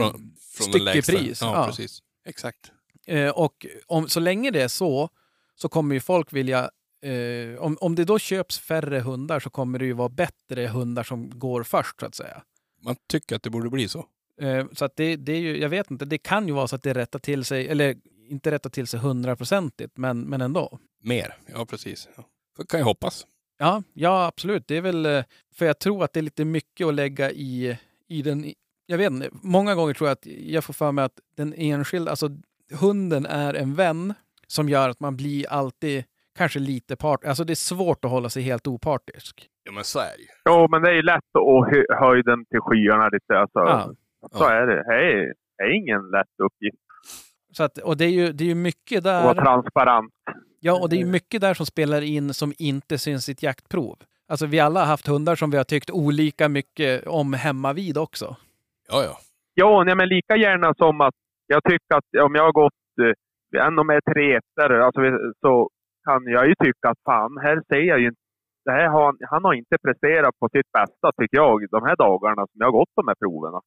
C: Eh,
D: Från, från den lägsta.
C: styckepris.
D: Ja,
C: ja.
D: precis. Exakt.
C: Eh, och om, så länge det är så, så kommer ju folk vilja... Eh, om, om det då köps färre hundar så kommer det ju vara bättre hundar som går först, så att säga.
D: Man tycker att det borde bli så.
C: Eh, så att det, det är ju, jag vet inte, det kan ju vara så att det rättar till sig, eller inte rättar till sig hundraprocentigt, men, men ändå.
D: Mer. Ja, precis. Ja. Då kan jag hoppas.
C: Ja, ja, absolut. Det är väl, eh, för jag tror att det är lite mycket att lägga i, i den... Jag vet inte, många gånger tror jag att jag får för mig att den enskilda, alltså hunden är en vän som gör att man blir alltid kanske lite part. Alltså det är svårt att hålla sig helt opartisk.
D: Ja, men så är det ju.
E: Jo, men det är ju lätt att hö- höja den till skyarna lite. Alltså,
C: Ja.
E: Så är det. Det är, det är ingen lätt uppgift
C: Så att, och det är ju det är ju mycket
E: att vara
C: där,
E: transparent.
C: ja, och det är ju mycket där som spelar in som inte syns i ett jaktprov. Alltså vi alla har haft hundar som vi har tyckt olika mycket om hemma vid också.
D: Ja, ja.
E: Ja, nej, men lika gärna som att jag tycker att om jag har gått, eh, än om jag är tre ettor, alltså, vi- så kan jag ju tycka att fan, här ser jag ju inte det här har, han- han har inte presterat på sitt bästa, tycker jag, de här dagarna som jag har gått de här proverna.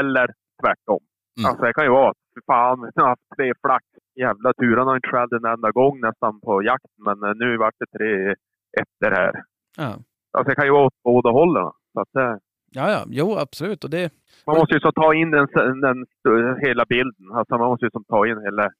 E: Eller tvärtom.
D: Mm.
E: Alltså det kan ju vara att, fy fan, jag har haft tre flax. Jävla tur, han har inte skällt en enda gång nästan på jakt, men eh, nu vart det tre ettor här.
C: Ja,
E: Alltså det kan ju vara åt båda hållen. Så att, eh,
C: ja, ja jo absolut. Och det,
E: man måste ju så ta in den, den, hela bilden. Alltså man måste ju som ta in hela,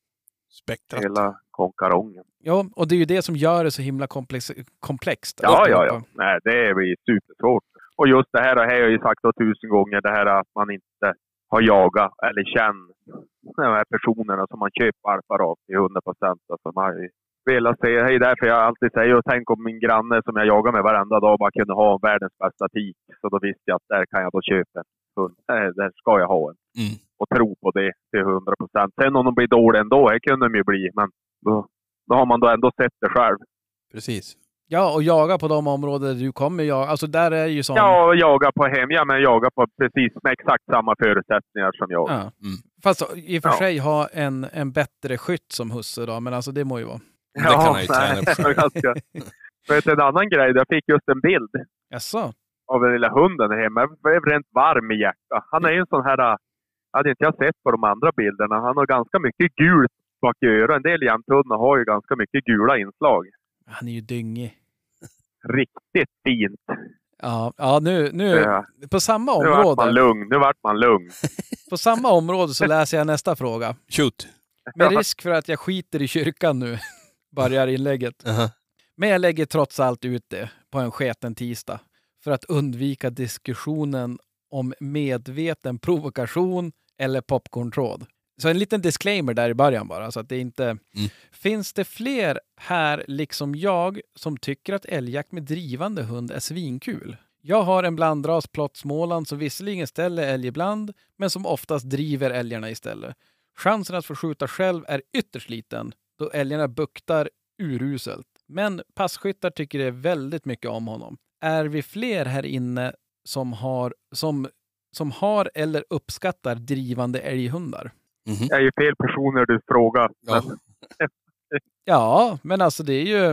D: Spektrat.
E: hela konkarongen.
C: ja, och det är ju det som gör det så himla komplex, komplext.
E: Ja, ja, ja. Nej, det blir supersvårt. Och just det här, det här har jag ju sagt då tusen gånger, det här att man inte har jagat eller känt de här personerna som man köper valpar av till 100 procent. Alltså man har ju velat se, det är därför jag alltid säger, och tänk om min granne som jag jagar med varenda dag bara kunde ha världens bästa tik. Så då visste jag att där kan jag då köpa en hund. Nej, Där ska jag ha en.
D: Mm.
E: Och tro på det till 100 procent. Sen om de blir dåliga ändå, det kunde de ju bli, men då, då har man då ändå sett det själv.
D: Precis.
C: Ja, och jaga på de områden där du kommer jaga. Alltså där är ju sån...
E: Ja, och jaga på hem. Ja, men jaga på precis med exakt samma förutsättningar som jag.
C: Ja. Fast i och för
E: Ja.
C: sig ha en, en bättre skytt som husse då, men alltså det må ju vara.
D: Det kan han ju träna
E: nej,
D: på.
E: det var ganska- Vet du, en annan grej? Jag fick just en bild
C: Jaså?
E: av den lilla hunden här hemma. Jag blev rent varm i hjärtat. Han är ju en sån här... äh, Hade inte jag sett på de andra bilderna. Han har ganska mycket gult bak i öronen. En del jämthundar har ju ganska mycket gula inslag.
C: Han är ju dyngig.
E: Riktigt fint.
C: Ja, ja nu, nu
E: Ja.
C: på samma
E: Nu vart man
C: område,
E: lugn. Nu vart man lugn.
C: på samma område så läser jag nästa fråga.
D: Shoot.
C: Med risk för att jag skiter i kyrkan nu, börjar inlägget.
D: Aha.
C: Men jag lägger trots allt ut det på en sketen tisdag för att undvika diskussionen om medveten provokation eller popcorntråd. Så en liten disclaimer där i början bara, så att det inte... Finns det fler här, liksom jag, som tycker att älgjakt med drivande hund är svinkul? Jag har en blandras plott Småland som visserligen ställer älg ibland, men som oftast driver älgarna istället. Chansen att få skjuta själv är ytterst liten, då älgarna buktar uruselt. Men passkyttar tycker det är väldigt mycket om honom. Är vi fler här inne som har, som, som har eller uppskattar drivande älghundar?
D: Mhm.
E: Det är ju fel personer du frågar.
D: Ja.
E: Men
C: Ja, men alltså det är ju...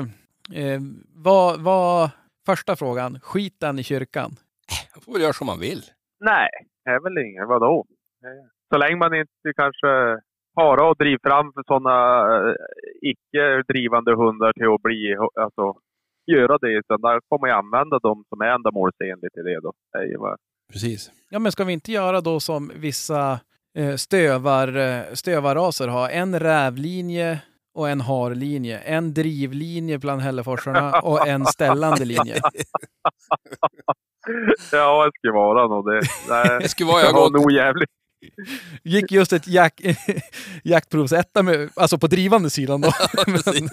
C: Eh, vad, vad, första frågan, skiten i kyrkan.
D: Han får väl göra som han vill.
E: Nej, det är väl inget. Vadå? Eh, Så länge man inte kanske para och driver fram för sådana icke-drivande hundar till att bli, alltså, göra det. Utan där får man ju använda de som är ändamålsenligt i det då. Det är ju vad-
D: Precis.
C: Ja, men ska vi inte göra då som vissa eh, stövar, eh, stövarraser har? En rävlinje och en harlinje. En drivlinje bland hälleforsarna och en ställande linje.
E: Ja, det skulle vara nog det. Nej,
D: Det skulle vara
E: jag
D: jag
E: har
D: gått.
E: nog jävligt.
C: Gick just ett jak- jaktprovsetta, med, alltså på drivande sidan då.
D: Precis.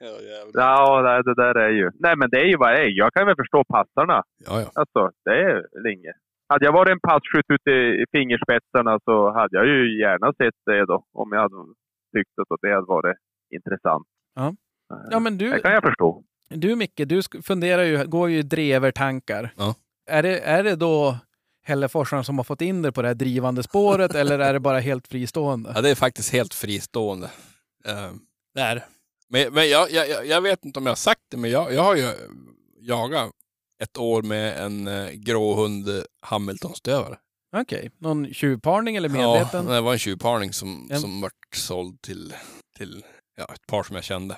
D: ja, jävlar.
E: Ja, nej, det där är ju... Nej, men det är ju vad det är. Jag kan väl förstå passarna.
D: ja, ja.
E: Alltså, det är väl inget. Hade jag varit en passkytt ute i fingerspetsarna så hade jag ju gärna sett det då. Om jag hade tyckt att det hade varit intressant. Eh,
C: Ja. Ja, men du,
E: Det kan jag förstå.
C: Du Micke, du sk- funderar ju, går ju i drevertankar.
D: Ja.
C: Är, det, är det då Hälleforsarna som har fått in dig på det här drivande spåret eller är det bara helt fristående?
D: ja, det är faktiskt helt fristående. Uh, där. Men, men jag, jag, jag- jag vet inte om jag har sagt det, men jag, jag har ju jagat ett år med en eh, gråhund Hamiltonstövare.
C: Okej, någon tjuvparning eller medveten?
D: Ja, det var en tjuvparning som,
C: Ja.
D: som vart såld till, till ja, ett par som jag kände.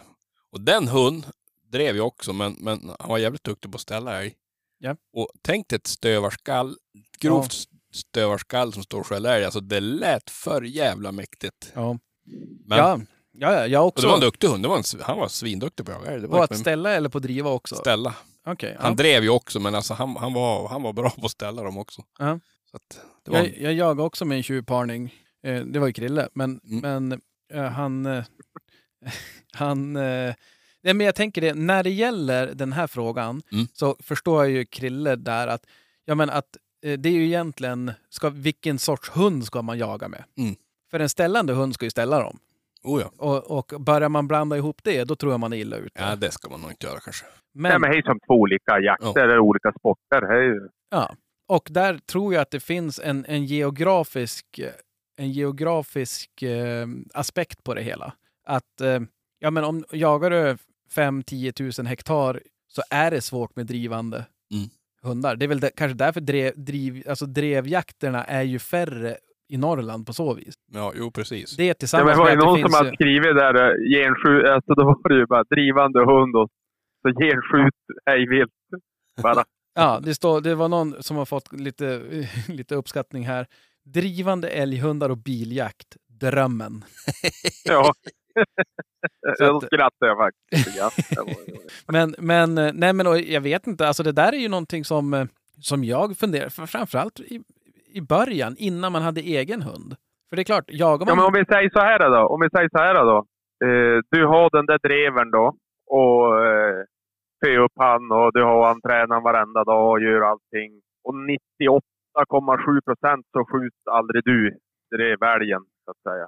D: Och den hund drev jag också, men, men han var jävligt duktig på att ställa älg.
C: Ja.
D: Och tänk dig ett stövarskall, ett grovt stövarskall som står och skäller älg. Alltså det lät för jävla mäktigt.
C: Ja.
D: Men,
C: ja, ja, ja, jag
D: Och det var en
C: också.
D: duktig hund. Det var en, han var svinduktig på att jaga älg. Det var
C: På
D: ju
C: att
D: med-
C: ställa eller på driva också?
D: ställa.
C: Okej,
D: Han
C: ja.
D: drev ju också, men alltså han, han, var, han var bra på att ställa dem också.
C: Ja.
D: Så att det var,
C: jag, jag jagade också med en tjuvparning. Eh, det var ju Krille, men,
D: Mm.
C: men eh, han... Eh, han eh, nej, men jag tänker det, när det gäller den här frågan
D: Mm.
C: så förstår jag ju Krille där att, ja, men att eh, det är ju egentligen, ska, vilken sorts hund ska man jaga med?
D: Mm.
C: För en ställande hund ska ju ställa dem.
D: oh ja.
C: Och, och börjar man blanda ihop det, då tror jag man är illa ute.
D: ja, det ska man nog inte göra kanske.
E: Nej,
C: Men,
E: men det är som två olika jakter eller olika sporter. Det är ju...
C: och där tror jag att det finns en, en geografisk, en geografisk eh, aspekt på det hela. Att eh, ja, men om jagar du 5-10 000 hektar så är det svårt med drivande
D: Mm.
C: hundar. Det är väl där, kanske därför drev, driv, alltså drevjakterna är ju färre i Norrland på så vis.
D: Ja, jo precis.
C: Det
E: Nej, men det
C: tillsammans
E: var ju
C: med att
E: någon
C: det
E: som
C: finns...
E: hade
C: ju-
E: skrivit där, eh, gensju, alltså då var det ju bara drivande hund och så genskjut hej vilt. Bara.
C: Ja, det, står, det var någon som har fått lite, lite uppskattning här. Drivande älghundar och biljakt. Drömmen.
E: Ja.
C: Så
E: Då
C: att-
E: skrattade jag faktiskt. lite grann. Det var ju-
C: Men, men, eh, nej, men och jag vet inte, alltså det där är ju någonting som, eh, som jag funderar för framförallt i, i början, innan man hade egen hund. För det är klart, jagar
E: Ja,
C: man...
E: men om vi säger så här då. Om vi säger så här då. Eh, du har den där dreven då och eh, för upp han och du har han tränar varenda dag och gör allting. Och 98,7 procent så skjuts aldrig du drevälgen så att säga.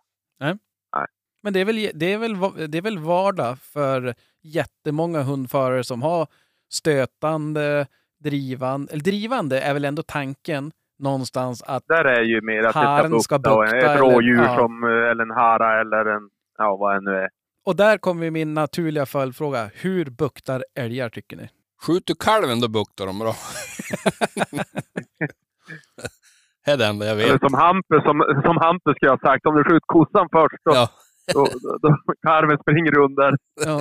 C: Men det är, väl, det, är väl, va- det är väl vardag för jättemånga hundförare som har stötande, drivande... Eller drivande är väl ändå tanken någonstans att
E: Där är ju mer att
C: Haren
E: det
C: ska
E: ska bukta och en-
C: bukta
E: ett
C: eller-
E: rådjur
C: ja.
E: som, eh, eller en hara eller en, ja vad det nu är.
C: Och där kommer min naturliga följdfråga. Hur buktar älgar tycker ni?
D: Skjuter kalven då buktar de bra. det är det enda jag
E: Eller
D: vet.
E: som Hampus, som, som Hampus skulle ha sagt, om du skjuter kossan först då,
D: Ja.
E: då, då, då karven springer under.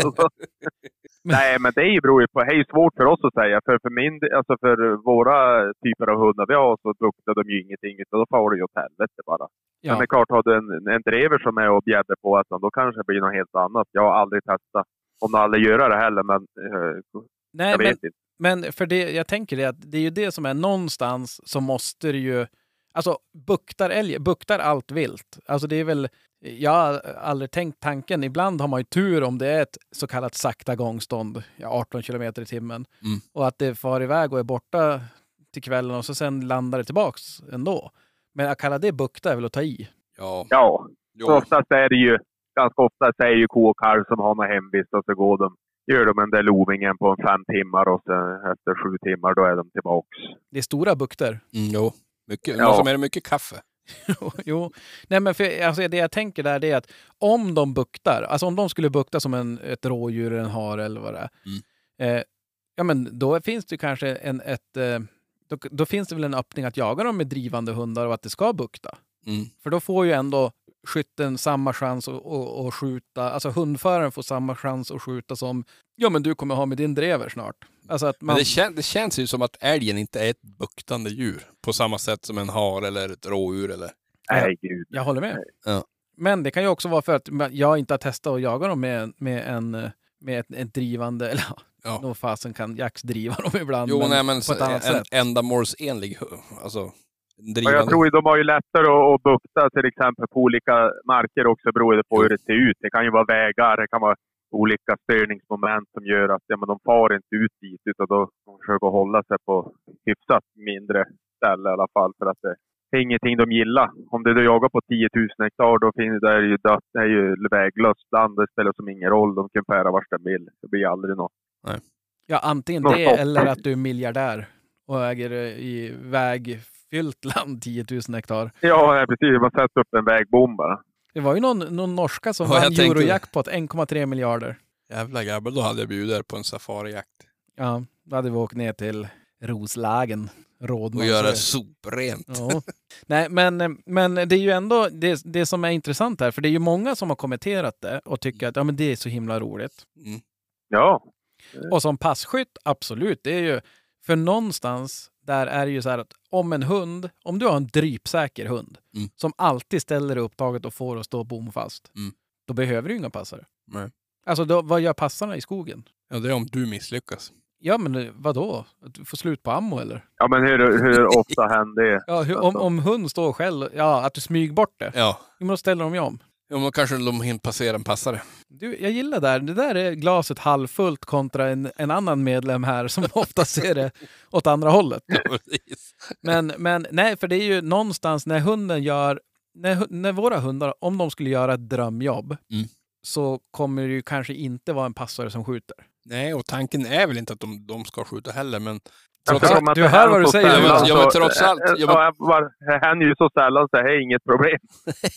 C: Ja,
E: Nej, men det är ju beror ju på. Det är ju svårt för oss att säga. För, för, min, alltså för våra typer av hundar vi har så buktar de ju ingenting. Utan då far det ju åt helvete bara.
C: Ja.
E: Men det är klart, har du en, en drever som är och bjädder på att då kanske det blir något helt annat. Jag har aldrig testat. Om de aldrig gör det heller, men eh,
C: Nej,
E: jag
C: men,
E: vet inte.
C: men för det, jag tänker det att det är ju det som är någonstans så måste det ju... Alltså buktar älg, buktar allt vilt. Alltså det är väl... Jag har aldrig tänkt tanken. Ibland har man ju tur om det är ett så kallat sakta gångstånd, ja, 18 kilometer i timmen,
D: Mm.
C: och att det far iväg och är borta till kvällen och så sen landar det tillbaks ändå. Men att kalla det bukta är väl att ta i.
D: Ja.
E: Ja,
D: Jo.
E: så oftast är det ju, ganska oftast är det ju ko och kalv som har något hemvist och så går de, gör de den där lovingen på en fem timmar och sen efter sju timmar då är de tillbaks.
C: Det är stora bukter.
D: Mm, jo. Mycket,
E: Ja.
D: Någon som är det mycket kaffe.
C: jo. Nej, men för, alltså, det jag tänker där det är att om de buktar, alltså om de skulle bukta som en, ett rådjur, en hare eller vad det är,
D: Mm.
C: eh, ja men då finns det ju kanske en, ett, eh, då, då finns det väl en öppning att jaga dem med drivande hundar och att det ska bukta.
D: Mm.
C: För då får ju ändå skytten samma chans att, att, att skjuta, alltså hundföraren får samma chans att skjuta som, ja men du kommer ha med din drever snart. Alltså att
D: Men
C: man,
D: det, kän, det känns ju som att älgen inte är ett buktande djur på samma sätt som en har eller ett rådjur eller...
E: Nej, gud.
C: Jag håller med.
D: Ja.
C: Men det kan ju också vara för att man- jag inte har testat att jaga dem med, med, en, eh, med ett, ett drivande, eller ja.
D: Ja.
C: nog fasen kan Jax driva dem ibland.
D: Jo,
C: men
D: nej men
C: på ett annat
D: en,
C: sätt.
D: ändamålsenlig, hu- alltså en
E: Ja,
D: drivande.
E: jag tror ju de har ju lättare att, att bukta till exempel på olika marker också beroende på hur det ser ut. Det kan ju vara vägar, det kan vara olika störningsmoment som gör att ja, men de far inte ut dit utan då de försöker hålla sig på hyfsat mindre ställe i alla fall för att det är ingenting de gillar. Om det du jagar på 10 000 hektar då finns det är ju dött, det är ju väglöst land. Det spelar som ingen roll. De kan färda vart de vill. Det blir aldrig något.
C: Ja, antingen
E: Någon
C: det
E: stopp.
C: eller att du är miljardär och äger eh, i vägfyllt land 10 000 hektar.
E: Ja, precis. Man sätter upp en vägbom bara.
C: Det var ju någon, någon norska som
D: Ja, jag
C: vann
D: tänkte-
C: Eurojackpot, 1,3 miljarder.
D: Jävla grabbar, då hade jag bjudit er på en safarijakt.
C: Ja, då hade vi åkt ner till Roslagen, Rådman.
D: Och göra soprent.
C: Ja. Nej, men, men det är ju ändå det, det som är intressant här, för det är ju många som har kommenterat det och tycker att ja, men det är så himla roligt.
D: Mm.
E: Ja,
C: Och som passkytt, absolut, det är ju för någonstans där är det ju så här att om en hund, om du har en drypsäker hund
D: Mm.
C: som alltid ställer dig upptaget och får att stå bomfast,
D: Mm.
C: då behöver du ju inga passare.
D: Nej.
C: Alltså, då, vad gör passarna i skogen?
D: Ja, det är om du misslyckas.
C: Ja, men vad då? Att du får slut på ammo eller?
E: ja men hur, hur ofta händer det?
C: Ja, hur, om, om hund står själv, ja, att du smyger bort det,
D: Alltså. Ja,
C: men då ställer de ju om.
D: ja men då kanske de hinner passera en passare.
C: Du, jag gillar där. Det där är glaset halvfullt kontra en, en annan medlem här som ofta ser det åt andra hållet.
D: Ja, precis.
C: Men, men nej, för det är ju någonstans när hunden gör... När, hu- när våra hundar, om de skulle göra ett drömjobb
D: Mm.
C: så kommer det ju kanske inte vara en passare som skjuter.
D: Nej, och tanken är väl inte att de, de ska skjuta heller, men...
E: Jag
D: Trots-
E: tror att
C: du
E: det
C: hör
E: händer
C: vad du
E: så
C: säger,
E: sällan
D: men- ja, men
E: så-
D: trots allt,
E: eh,
D: ja, men-
E: ja, jag bara- Det händer ju så sällan så det här är inget problem.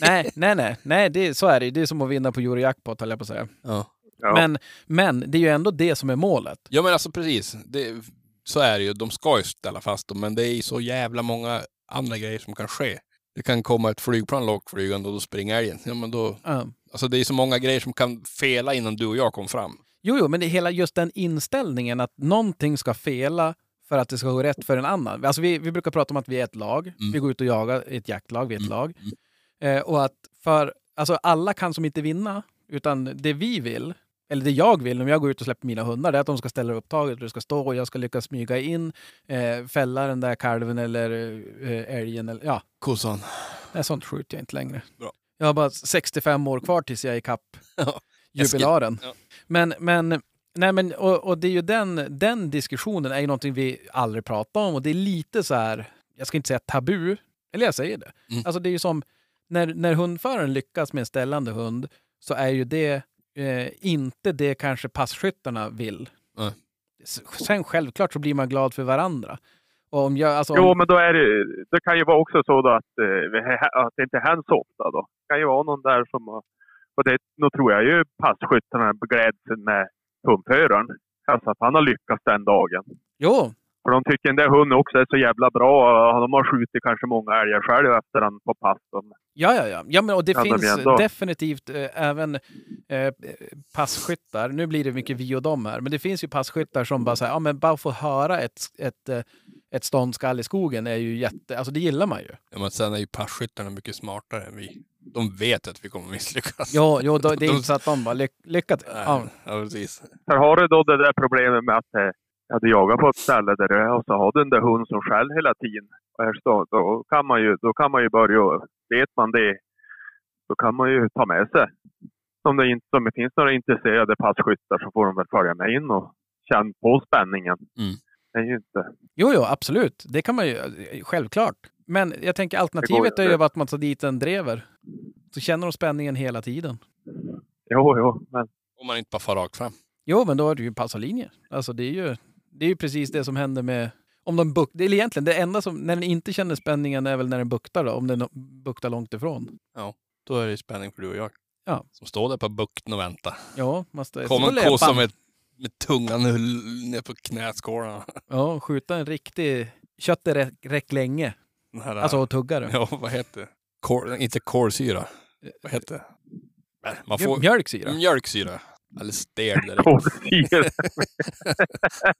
C: Nej, nej, nej, nej det, så är det ju. Det är som att vinna på Eurojackpot, höll jag på att säga.
D: Ja.
E: Ja.
C: Men, men det är ju ändå det som är målet.
D: Ja men alltså precis, det, så är det ju. De ska ju ställa fast dem, men det är ju så jävla många andra grejer som kan ske. Det kan komma ett flygplan lågflygande och då springer älgen. Ja, men då,
C: Ja.
D: alltså det är så många grejer som kan fela innan du och jag kom fram.
C: Jo, jo, men det är hela just den inställningen att någonting ska fela för att det ska gå rätt för en annan. Alltså vi, vi brukar prata om att vi är ett lag. Vi går ut och jagar i ett jaktlag, vi är ett lag. Eh, och att för, alltså alla kan som inte vinna, utan det vi vill, eller det jag vill om jag går ut och släpper mina hundar, det är att de ska ställa upp taget, det ska stå och jag ska lyckas smyga in, eh, fälla den där kalven eller eh, älgen. Eller, ja,
D: Kossan.
C: nej, sånt skjuter jag inte längre.
D: Bra.
C: Jag har bara 65 år kvar tills jag är i kapp
D: Ja.
C: jubilaren.
D: Ja.
C: Men, men, nej men och, och det är ju den, den diskussionen är ju någonting vi aldrig pratar om och det är lite så här, jag ska inte säga tabu, eller jag säger det.
D: Mm.
C: Alltså det är ju som, när, när hundföraren lyckas med en ställande hund så är ju det eh, inte det kanske passkyttarna vill.
D: Nej.
C: S- Sen självklart så blir man glad för varandra. Och om jag, alltså,
E: Jo,
C: om,
E: men då är det, ju- det kan ju vara också så då att, eh, vi- att det inte händer så ofta. Då. Det kan ju vara någon där som... har- Och det, då tror jag ju passkyttarna gläds med hundföraren. Alltså att han har lyckats den dagen.
C: jo,
E: För de tycker den där hunden också är så jävla bra. De har skjutit kanske många älgar själv efter han på pass. De-
C: Ja, ja, ja. ja men, och det
E: Ja, de
C: finns
E: är ändå-
C: definitivt eh, även eh, passkyttar. Nu blir det mycket vi och dem här, men det finns ju passkyttar som bara säger ja, men bara få höra ett, ett, eh, ett ståndskall i skogen är ju jätte... Alltså det gillar man ju.
D: Ja, men sen är ju passkyttarna mycket smartare än vi. De vet att vi kommer misslyckas.
C: Jo, jo då, det är
D: De-
C: inte så att de bara lyck, lyckat. Ja.
D: Ja, ja precis.
E: För har du då det där problemet med att eh, ja, du jagar på ett ställe där du är och så har du den där hunden som skäll hela tiden. Och här står, då, kan man ju, då kan man ju börja, och- vet man det, då kan man ju ta med sig. Om det, inte, om det finns några intresserade passkyttar så får de väl följa med in och känna på spänningen.
D: Mm.
E: Det är ju inte...
C: Jo, jo, absolut. Det kan man ju. eh, Självklart. Men jag tänker alternativet är ju att man tar dit en drever. Så känner de spänningen hela tiden.
E: Jo, jo, men
D: Om man inte bara far rakt fram.
C: Jo, men då är det ju passarlinje. Alltså det är ju, det är ju precis det som händer med... Om de buk, det är egentligen det enda som... När den inte känner spänningen är väl när den buktar då, om den buktar långt ifrån.
D: Då är det ju spänning för du och jag.
C: Ja.
D: Som står där på bukten och väntar.
C: Ja, man står
D: Kommer
C: står
D: en
C: löpan.
D: kossa med, med tungan l- ner på knäskålarna.
C: Ja, skjuta en riktig... Köttet räck, räck länge.
D: Den här-
C: Alltså och tugga det.
D: Ja, vad heter det? Kol, inte kolsyra. Vad heter det? Nej, Man
C: Mjölk-
D: får Mm.
C: Mjölk säger jag.
D: Äh, mjölksyra. Eller stel. där.
E: kolsyra.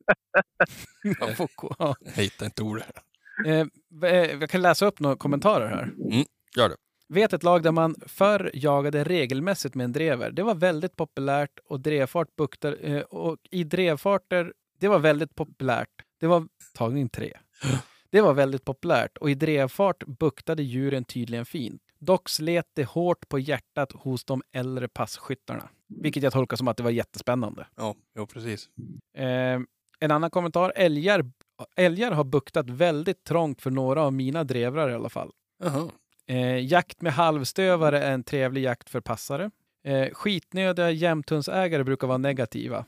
C: Man får ko- ja.
D: Jag hittar inte ordet.
C: Eh, v- eh, Jag kan läsa upp några kommentarer här.
D: Mm, Gör det.
C: Vet ett lag där man förr jagade regelmässigt med en drever. Det var väldigt populärt och drevfart buktar, eh, och i drevfarter, det var väldigt populärt. Det var tagning tre. Det var väldigt populärt och i drevfart buktade djuren tydligen fint. Dock slet det hårt på hjärtat hos de äldre passkyttarna. Vilket jag tolkar som att det var jättespännande.
D: Ja, jo, precis.
C: Eh, en annan kommentar. Älgar, älgar har buktat väldigt trångt för några av mina drevrar i alla fall.
D: Jaha.
C: Eh, jakt med halvstövare är en trevlig jakt för passare. Eh, skitnödiga jämthundsägare brukar vara negativa.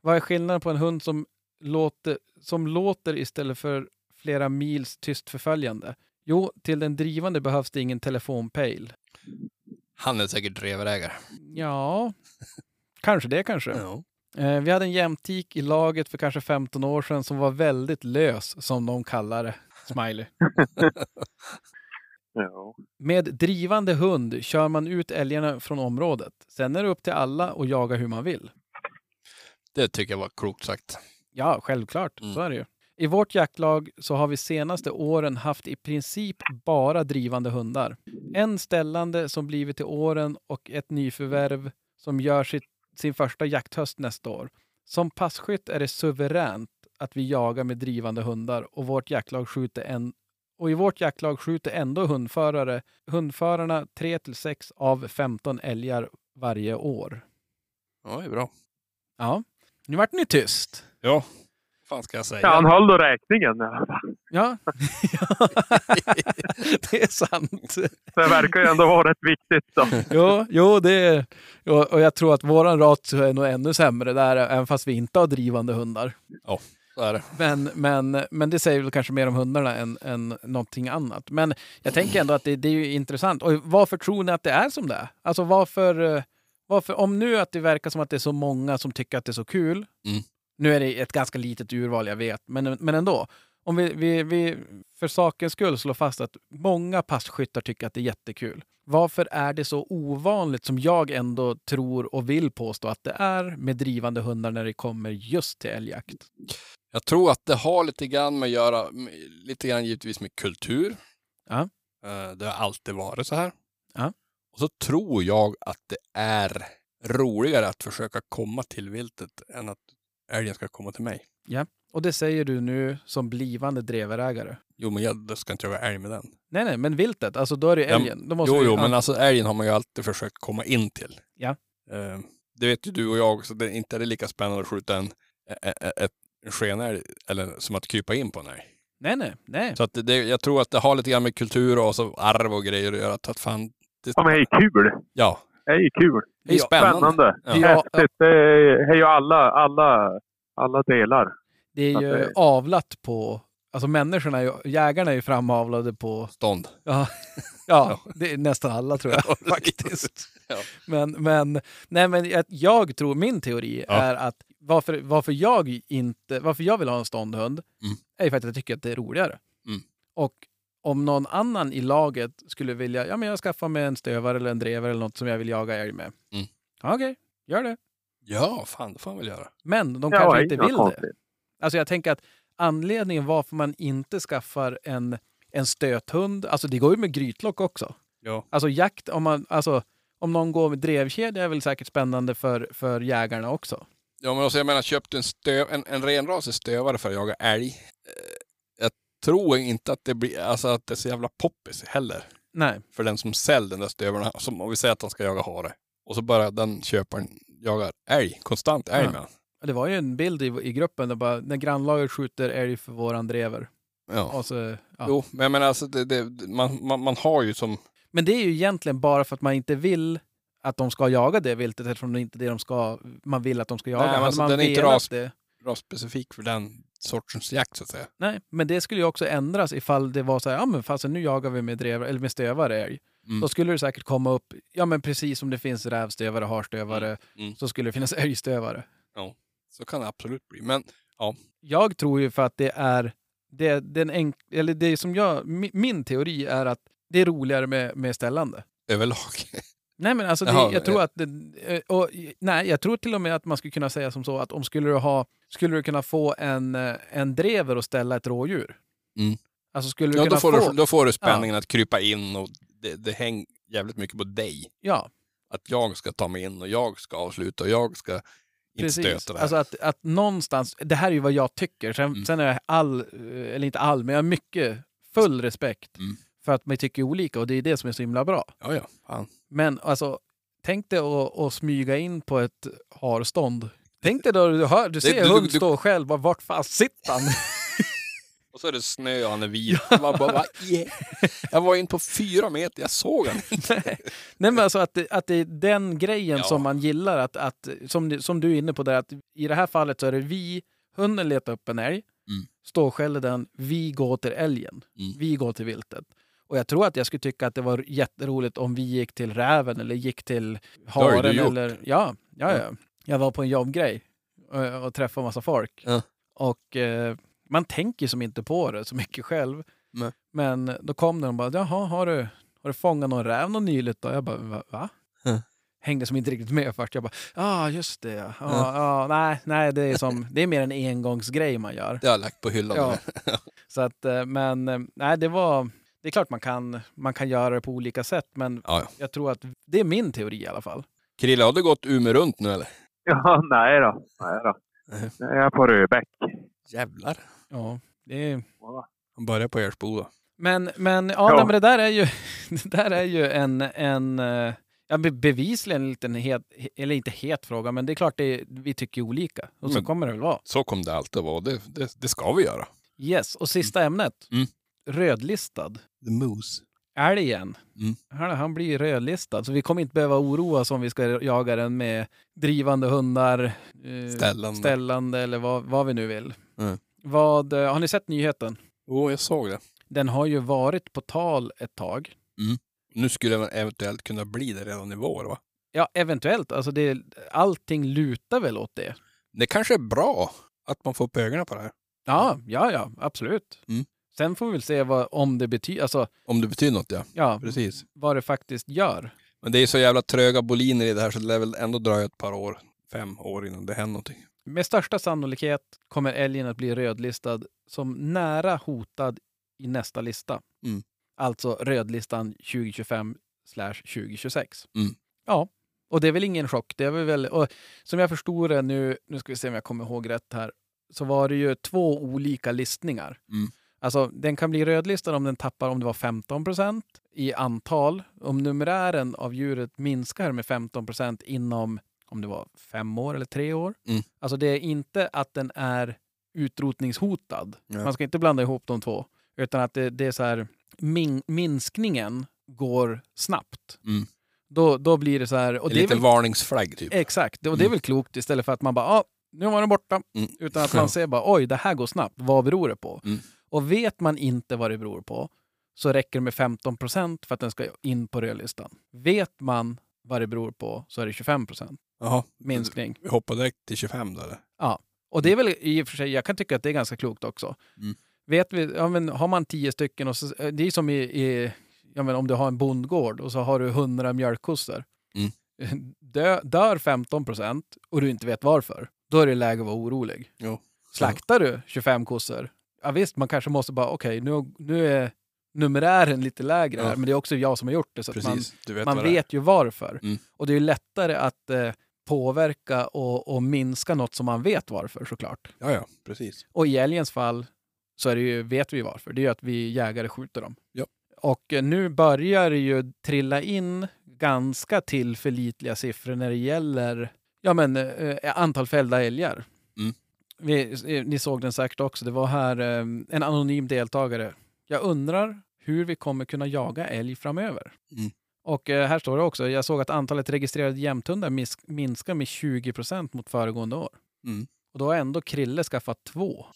C: Vad är skillnaden på en hund som låter, som låter istället för flera mils tyst förföljande? Jo, till den drivande behövs det ingen telefonpejl.
D: Han är säkert dreverägare.
C: Ja, kanske det kanske.
D: Ja.
C: Eh, vi hade en jämtik i laget för kanske 15 år sedan som var väldigt lös, som de kallar det. Smiley.
E: Ja.
C: Med drivande hund kör man ut älgarna från området. Sen är det upp till alla att jaga hur man vill.
D: Det tycker jag var klokt sagt.
C: Ja, självklart.
D: Mm.
C: Så är det ju. I vårt jaktlag så har vi senaste åren haft i princip bara drivande hundar. En ställande som blivit till åren och ett nyförvärv som gör sitt, sin första jakthöst nästa år. Som passkytt är det suveränt att vi jagar med drivande hundar och vårt jaktlag skjuter en och i vårt jaktlag skjuter ändå hundförare, hundförarna 3-6 av 15 älgar varje år.
D: Ja, det är bra.
C: Ja, nu vart ni tyst.
D: Ja. fan ska jag säga?
E: Ja, han höll då räkningen.
C: Ja. det är sant.
E: Så det verkar ju ändå vara rätt viktigt. Då.
C: Jo, jo, det är, jo, och jag tror att våran ratio är nog ännu sämre där, även fast vi inte har drivande hundar.
D: Så är det.
C: Men, men, men det säger väl kanske mer om hundarna än, än någonting annat. Men jag tänker ändå att det, det är ju intressant. Och varför tror ni att det är som det är? Alltså varför, eh, varför, om nu att det verkar som att det är så många som tycker att det är så kul.
D: Mm.
C: Nu är det ett ganska litet urval, jag vet, men, men ändå. Om vi, vi, vi för sakens skull slår fast att många passkyttar tycker att det är jättekul. Varför är det så ovanligt som jag ändå tror och vill påstå att det är med drivande hundar när det kommer just till älgjakt?
D: Jag tror att det har lite grann med att göra, m- lite grann givetvis med kultur.
C: Ja.
D: Eh, Det har alltid varit så här.
C: Ja.
D: Och så tror jag att det är roligare att försöka komma till viltet än att älgen ska komma till mig.
C: Och det säger du nu som blivande drevägare.
D: Jo, men jag då ska inte jag vara älg med den.
C: Nej, nej, men viltet, alltså då är det ju
D: Ja,
C: älgen. Då måste
D: Jo,
C: vi-
D: jo,
C: ja.
D: men alltså älgen har man ju alltid försökt komma in till.
C: Ja.
D: Eh, Det vet ju du och jag, så det är inte är det lika spännande att skjuta en, ä- ä- ä- en skenälg eller som att krypa in på en älg.
C: Nej, nej, nej.
D: Så att det, det, jag tror att det har lite grann med kultur och så arv och grejer att göra. Att att fan,
E: Ja, men det är ju kul.
D: ja,
E: Det är ju kul.
D: det är
C: Ja,
D: spännande.
E: Spännande.
D: Ja.
C: Ja,
E: Häftigt. Det är det är ju alla, alla, alla delar.
C: Det är
E: Att
C: ju
E: det-
C: avlat på... Alltså människorna, är ju- jägarna är ju framavlade på...
D: Stånd.
C: Ja, det är nästan alla tror jag.
D: faktiskt. Ja.
C: Men, men, nej, men jag, jag tror, min teori
D: Ja.
C: är att varför, varför, jag inte, varför jag vill ha en ståndhund
D: Mm.
C: är ju för att jag tycker att det är roligare.
D: Mm.
C: Och om någon annan i laget skulle vilja, ja men jag skaffar mig en stövare eller en drevare eller något som jag vill jaga älg med.
D: Mm.
C: Ja, Okej, gör det.
D: ja, fan, det får man väl göra.
C: Men de
E: Ja,
C: kanske
E: inga
C: inte vill det.
E: konstigt.
C: Alltså jag tänker att anledningen varför man inte skaffar en, en stöthund, alltså det går ju med grytlock också.
D: Ja.
C: Alltså jakt, om, man, alltså, om någon går med drevkedja är väl säkert spännande för, för jägarna också.
D: Ja, men också, jag menar, köpte en, stöv, en, en renrasig stövare för att jaga älg. Eh, Jag tror inte att det blir, alltså att det är så jävla poppis heller.
C: Nej,
D: För den som säljer den där stövarna, som om vi säger att han ska jaga hare. Och så börjar den köparen jaga älg, konstant älg
C: Ja.
D: med han.
C: det var ju en bild i, i gruppen där bara, när grannlaget skjuter älg för våran drever.
D: Ja.
C: Och så, ja.
D: Jo, men jag menar alltså, det, det, man, man, man har ju som,
C: Men det är ju egentligen bara för att man inte vill att de ska jaga det viltet eftersom det inte är det de ska, man vill att de ska jaga.
D: Nej, men
C: Hade
D: alltså,
C: man
D: den är inte
C: velat
D: ras-
C: det-
D: bra specifik för den sortens jakt så att säga.
C: Nej, men det skulle ju också ändras ifall det var så här, ja men fasen nu jagar vi med, drev, eller med stövare älg.
D: Mm.
C: Då skulle det säkert komma upp, ja men precis som det finns rävstövare, harstövare,
D: Mm.
C: så skulle det finnas älgstövare.
D: Så kan det absolut bli. Men
C: Jag tror ju för att det är, det, den enk, eller det som jag, mi- min teori är att det är roligare med, med ställande.
D: överlag.
C: Nej men alltså, det,
D: Jaha,
C: jag tror att, det, eh, och, nej jag tror till och med att man skulle kunna säga som så att om skulle du ha, skulle du kunna få en, eh, en drever och ställa ett rådjur.
D: Mm.
C: Alltså skulle du
D: Ja,
C: kunna
D: då, får
C: få,
D: du, då får du spänningen att krypa in och det, det hänger jävligt mycket på dig.
C: ja.
D: Att jag ska ta mig in och jag ska avsluta och jag ska inte stöta det här.
C: Alltså att, att någonstans, det här är ju vad jag tycker, sen,
D: Mm.
C: sen är jag all, eh, eller inte all, men jag har mycket full respekt
D: Mm.
C: för att man tycker olika och det är det som är så himla bra.
D: Ja, ja. Fan.
C: Men alltså, tänk dig att, att smyga in på ett harstånd. Tänk dig då du hör, du ser
D: du-
C: hund
D: du-
C: stå själv, bara, vart fan sitter han?
D: Och så är det snö och han är vit. Man bara, va? Yeah. Jag var in på fyra meter, jag såg han.
C: Nej men alltså att, det- att det är den grejen
D: Ja.
C: som man gillar, att, att, som, du- som du är inne på där, att i det här fallet så är det vi, hunden letar upp en älg,
D: Mm.
C: ståskäller den, vi går till älgen,
D: Mm.
C: vi går till viltet. Och jag tror att jag skulle tycka att det var jätteroligt om vi gick till räven eller gick till
D: har ju du
C: haren.
D: gjort.
C: Eller, ja, ja, ja. Jag var på en jobbgrej eh, och träffade massa folk.
D: Ja.
C: Och eh, man tänker som inte på det så mycket själv.
D: Nej.
C: Men då kom den och bara, jaha, har du, har du fångat någon räv någon nyligt då? Jag bara, "Va- va?
D: Ja.
C: Hängde som inte riktigt med först. Jag bara, ja ah, just det. Ja,
D: Ja.
C: ja. nej, nej det, är som, det är mer en engångsgrej man gör.
D: Det har jag lagt på hyllan.
C: Ja. Så att, eh, men eh, nej, det var... Det är klart man kan, man kan göra det på olika sätt, men
D: Ja, ja.
C: jag tror att det är min teori i alla fall.
D: Krille, har du gått Umeå runt nu eller?
E: Ja, nej då. Nej då.
D: Nej.
E: Jag är på Röbäck.
D: Jävlar.
C: Ja, det är...
D: Han börjar på Ersboda.
C: Men, men, ja,
E: Ja.
C: Nej, men det där är ju, det där är ju en, en, eh, Ja, be- bevisligen en liten het, eller inte het fråga, men det är klart det, vi tycker olika. Och så
D: Men-
C: kommer det väl vara.
D: Så kommer det alltid att vara. Det, det, det ska vi göra.
C: Yes, och sista ämnet.
D: Mm.
C: Rödlistad.
D: The Moose.
C: Älgen.
D: Mm.
C: Han, han blir rödlistad, så vi kommer inte behöva oroa oss om vi ska jaga den med drivande hundar, eh,
D: Ställande.
C: ställande eller vad, vad vi nu vill.
D: Mm.
C: Vad, eh, har ni sett nyheten?
D: Jo, jag såg det.
C: Den har ju varit på tal ett tag.
D: Nu skulle den eventuellt kunna bli det redan i vår, va?
C: Ja, eventuellt. Alltså det, allting lutar väl åt det.
D: Det kanske är bra att man får upp ögonen på det här.
C: Ja, ja, ja, absolut.
D: Mm.
C: Sen får vi väl se vad, om det betyder, alltså
D: Om det betyder något, ja.
C: ja,
D: Precis.
C: vad det faktiskt gör.
D: Men det är så jävla tröga boliner i det här så det lär väl ändå dröja ett par år, fem år innan det händer någonting.
C: Med största sannolikhet kommer älgen att bli rödlistad som nära hotad i nästa lista.
D: Mm.
C: Alltså rödlistan 2025 2026.
D: Mm.
C: Ja, och det är väl ingen chock. Det är väl, och som jag förstod det nu, nu ska vi se om jag kommer ihåg rätt här, så var det ju två olika listningar.
D: Mm.
C: Alltså den kan bli rödlistad om den tappar om det var 15 procent i antal. Om numerären av djuret minskar med 15 procent inom om det var fem år eller tre år.
D: Mm.
C: Alltså det är inte att den är utrotningshotad.
D: Nej.
C: Man ska inte blanda ihop de två. Utan att det, det är så här, min, minskningen går snabbt.
D: Mm.
C: Då, då blir det så här... Och
D: En
C: det är
D: liten
C: väl, Eh.
D: varningsflagg typ.
C: exakt, och det är
D: Mm.
C: väl klokt istället för att man bara ah, nu var den borta.
D: Mm.
C: Utan att man ser bara oj, det här går snabbt. Vad beror det på?
D: Mm.
C: Och vet man inte vad det beror på så räcker det med 15 procent för att den ska in på rödlistan. Vet man vad det beror på så är det 25 procent
D: Jaha,
C: minskning.
D: vi hoppar direkt till 25 då eller?
C: Och det är väl i och för sig, jag kan tycka att det är ganska klokt också.
D: Mm.
C: Vet vi, ja, men har man tio stycken, och så, eh, det är som i, i ja, men om du har en bondgård och så har du hundra mjölkkossor.
D: Mm.
C: Dö, dör 15 procent och du inte vet varför, då är det läge att vara orolig.
D: Jo.
C: Slaktar du 25 kossor, ja visst, man kanske måste bara, okej, nu, nu är numerären lite lägre här,
D: Ja.
C: men det är också jag som har gjort det. Så att man,
D: Precis, du vet
C: man
D: vad det är.
C: vet ju varför.
D: Mm.
C: Och det är ju lättare att eh, påverka och, och minska något som man vet varför såklart.
D: Ja, ja, precis.
C: Och i älgens fall så är det ju, vet vi varför. Det är ju att vi jägare skjuter dem.
D: Ja.
C: Och eh, nu börjar det ju trilla in ganska tillförlitliga siffror när det gäller ja, men, eh, antal fällda älgar.
D: Mm.
C: Vi, eh, ni såg den säkert också. Det var här eh, en anonym deltagare. Jag undrar hur vi kommer kunna jaga älg framöver.
D: Mm.
C: Och eh, här står det också, jag såg att antalet registrerade jämthundar mis- minskar med 20 procent mot föregående år.
D: Mm.
C: Och då har ändå Krille skaffat två.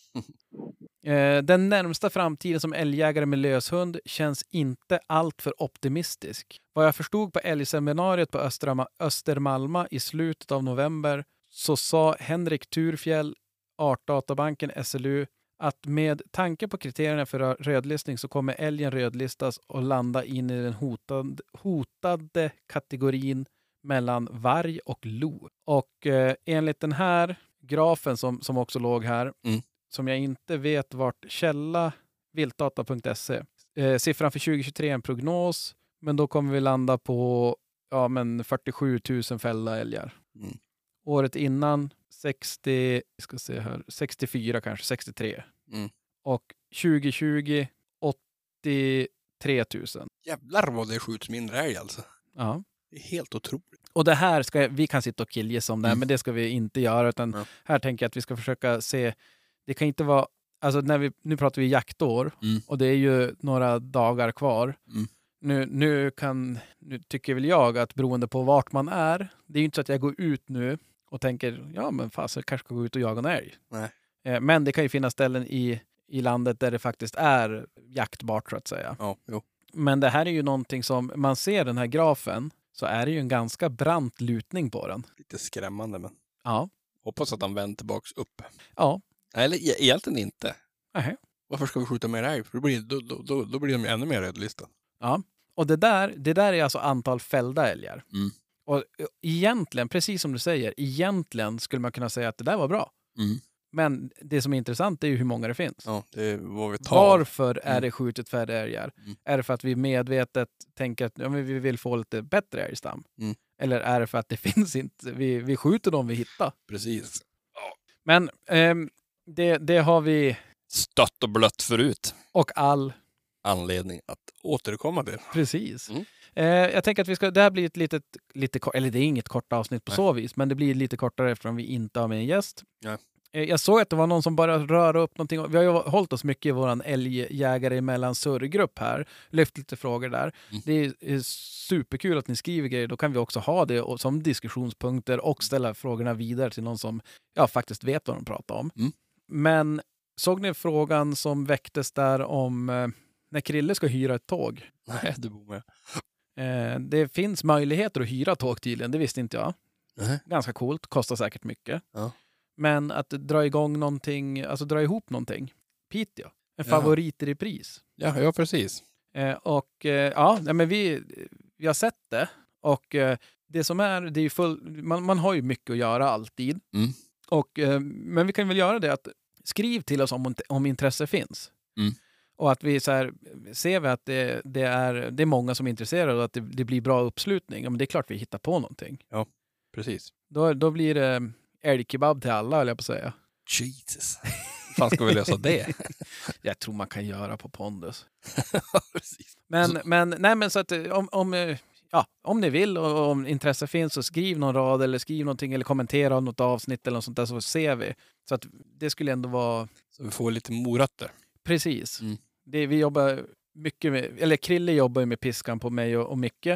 C: Eh, Den närmsta framtiden som älgjägare med löshund känns inte alltför optimistisk. Vad jag förstod på älgseminariet på Östra, Östermalma i slutet av november så sa Henrik Turfjell, Artdatabanken SLU, att med tanke på kriterierna för rö- rödlistning så kommer älgen rödlistas och landa in i den hotad, hotade kategorin mellan varg och lo. Och eh, enligt den här grafen som, som också låg här
D: Mm.
C: som jag inte vet vart källa viltdata.se. Eh, siffran för 2023 är en prognos, men då kommer vi landa på ja, men 47 000 fällda älgar.
D: Mm.
C: Året innan 60, vi ska se här, 64 kanske, 63.
D: Mm.
C: Och 2020 83 000.
D: Jävlar vad det skjuts mindre älg alltså.
C: Ja.
D: Det är helt otroligt.
C: Och det här ska vi kan sitta och killgissa om det här,
D: Mm.
C: men det ska vi inte göra. Utan
D: Ja.
C: Här tänker jag att vi ska försöka se, det kan inte vara, alltså när vi, nu pratar vi jaktår
D: Mm.
C: och det är ju några dagar kvar.
D: Mm.
C: Nu, nu, kan, nu tycker väl jag att beroende på vart man är, det är ju inte så att jag går ut nu och tänker, ja men fasen jag kanske ska gå ut och jaga en älg.
D: Nej.
C: Eh, Men det kan ju finnas ställen i, i landet där det faktiskt är jaktbart så att säga.
D: Ja, jo.
C: Men det här är ju någonting som, man ser den här grafen, så är det ju en ganska brant lutning på den.
D: Lite skrämmande men.
C: Ja.
D: Hoppas att han vänder tillbaks upp.
C: Ja.
D: Eller e- egentligen inte.
C: Nähä.
D: Varför ska vi skjuta mer älg? För då blir, då, då, då, då blir de ju ännu mer rödlistade.
C: Och det där, det där är alltså antal fällda älgar.
D: Mm.
C: Och eh, egentligen, precis som du säger, egentligen skulle man kunna säga att det där var bra.
D: Mm.
C: Men det som är intressant är ju hur många det finns.
D: Ja, det är vad vi tar.
C: Varför är
D: Mm.
C: det skjutet färre älgar?
D: Mm.
C: Är det för att vi medvetet tänker att ja, men vi vill få lite bättre älgstam?
D: Mm.
C: Eller är det för att det finns inte, vi, vi skjuter dem vi hittar?
D: Precis.
C: Men ehm, det, det har vi
D: Stött och blött förut.
C: och all
D: Anledning att återkomma till.
C: Precis.
D: Mm.
C: Eh, jag tänker att vi ska, det här blir ett litet, lite, ko- eller det är inget kort avsnitt på
D: Nej.
C: så vis, men det blir lite kortare eftersom vi inte har med en gäst.
D: Nej.
C: Eh, jag såg att det var någon som bara rörde upp någonting. Vi har ju hållit oss mycket i vår älgjägare emellan surrgrupp här, lyft lite frågor där.
D: Mm.
C: Det är eh, superkul att ni skriver grejer, då kan vi också ha det och- som diskussionspunkter och ställa frågorna vidare till någon som ja, faktiskt vet vad de pratar om.
D: Mm.
C: Men såg ni frågan som väcktes där om eh, när Krille ska hyra ett tåg?
D: Nej, du bor med.
C: Eh, det finns möjligheter att hyra tåg tydligen, det visste inte jag.
D: Nej.
C: Ganska coolt, kostar säkert mycket.
D: Ja.
C: Men att dra igång någonting, alltså dra ihop någonting. Piteå, en
D: Ja.
C: favorit i pris.
D: Ja, ja, precis.
C: Eh, och eh, ja, nej, men vi, vi har sett det. Och eh, det som är, det är ju full, man, man har ju mycket att göra alltid.
D: Mm.
C: Och, eh, men vi kan väl göra det att skriv till oss om, om intresse finns.
D: Mm.
C: Och att vi så här, ser vi att det, det, är, det är många som är intresserade och att det, det blir bra uppslutning, ja, men det är klart vi hittar på någonting.
D: Precis.
C: Då, då blir det älgkebab till alla, höll jag på att säga.
D: Jesus. fan ska vi lösa Alltså det?
C: Jag tror man kan göra på pondus.
D: precis.
C: Men,
D: Så-
C: men, nej, men så att eh, om, om, eh, ja, om ni vill och och om intresse finns så skriv någon rad eller skriv någonting eller kommentera om något avsnitt eller något sånt där så ser vi. Så att det skulle ändå vara
D: Så vi får lite morötter.
C: precis.
D: Mm.
C: Det, vi jobbar mycket med, eller Krille jobbar ju med piskan på mig och, och Micke.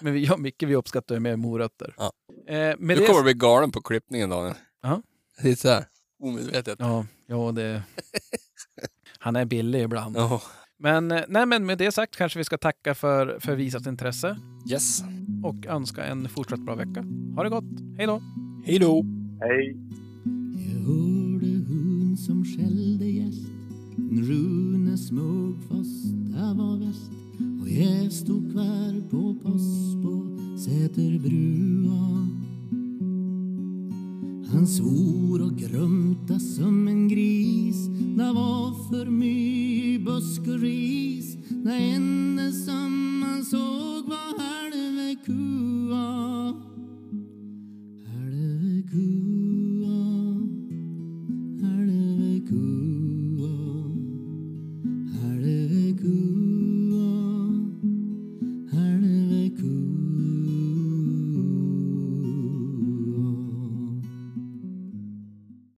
C: Men vi, jag och Micke vi uppskattar ju mer morötter.
D: Ja.
C: Eh, med
D: Du
C: det,
D: kommer bli galen på klippningen, Daniel.
C: Ja.
D: Det är så här. Omedvetet.
C: Ja, ja det... Han är billig ibland.
D: Ja.
C: Men, eh, nej, men med det sagt kanske vi ska tacka för, för visat intresse
D: Yes.
C: och önska en fortsatt bra vecka. Ha det gott. Hej då!
D: Hej då.
E: Hej!
B: Jag hörde hon som skällde gäst En Rune Smugfors, där var väst Och jag stod kvar på post på Säterbrua Han svor och grumta som en gris Det var för mycket busk och ris Det enda som man såg var här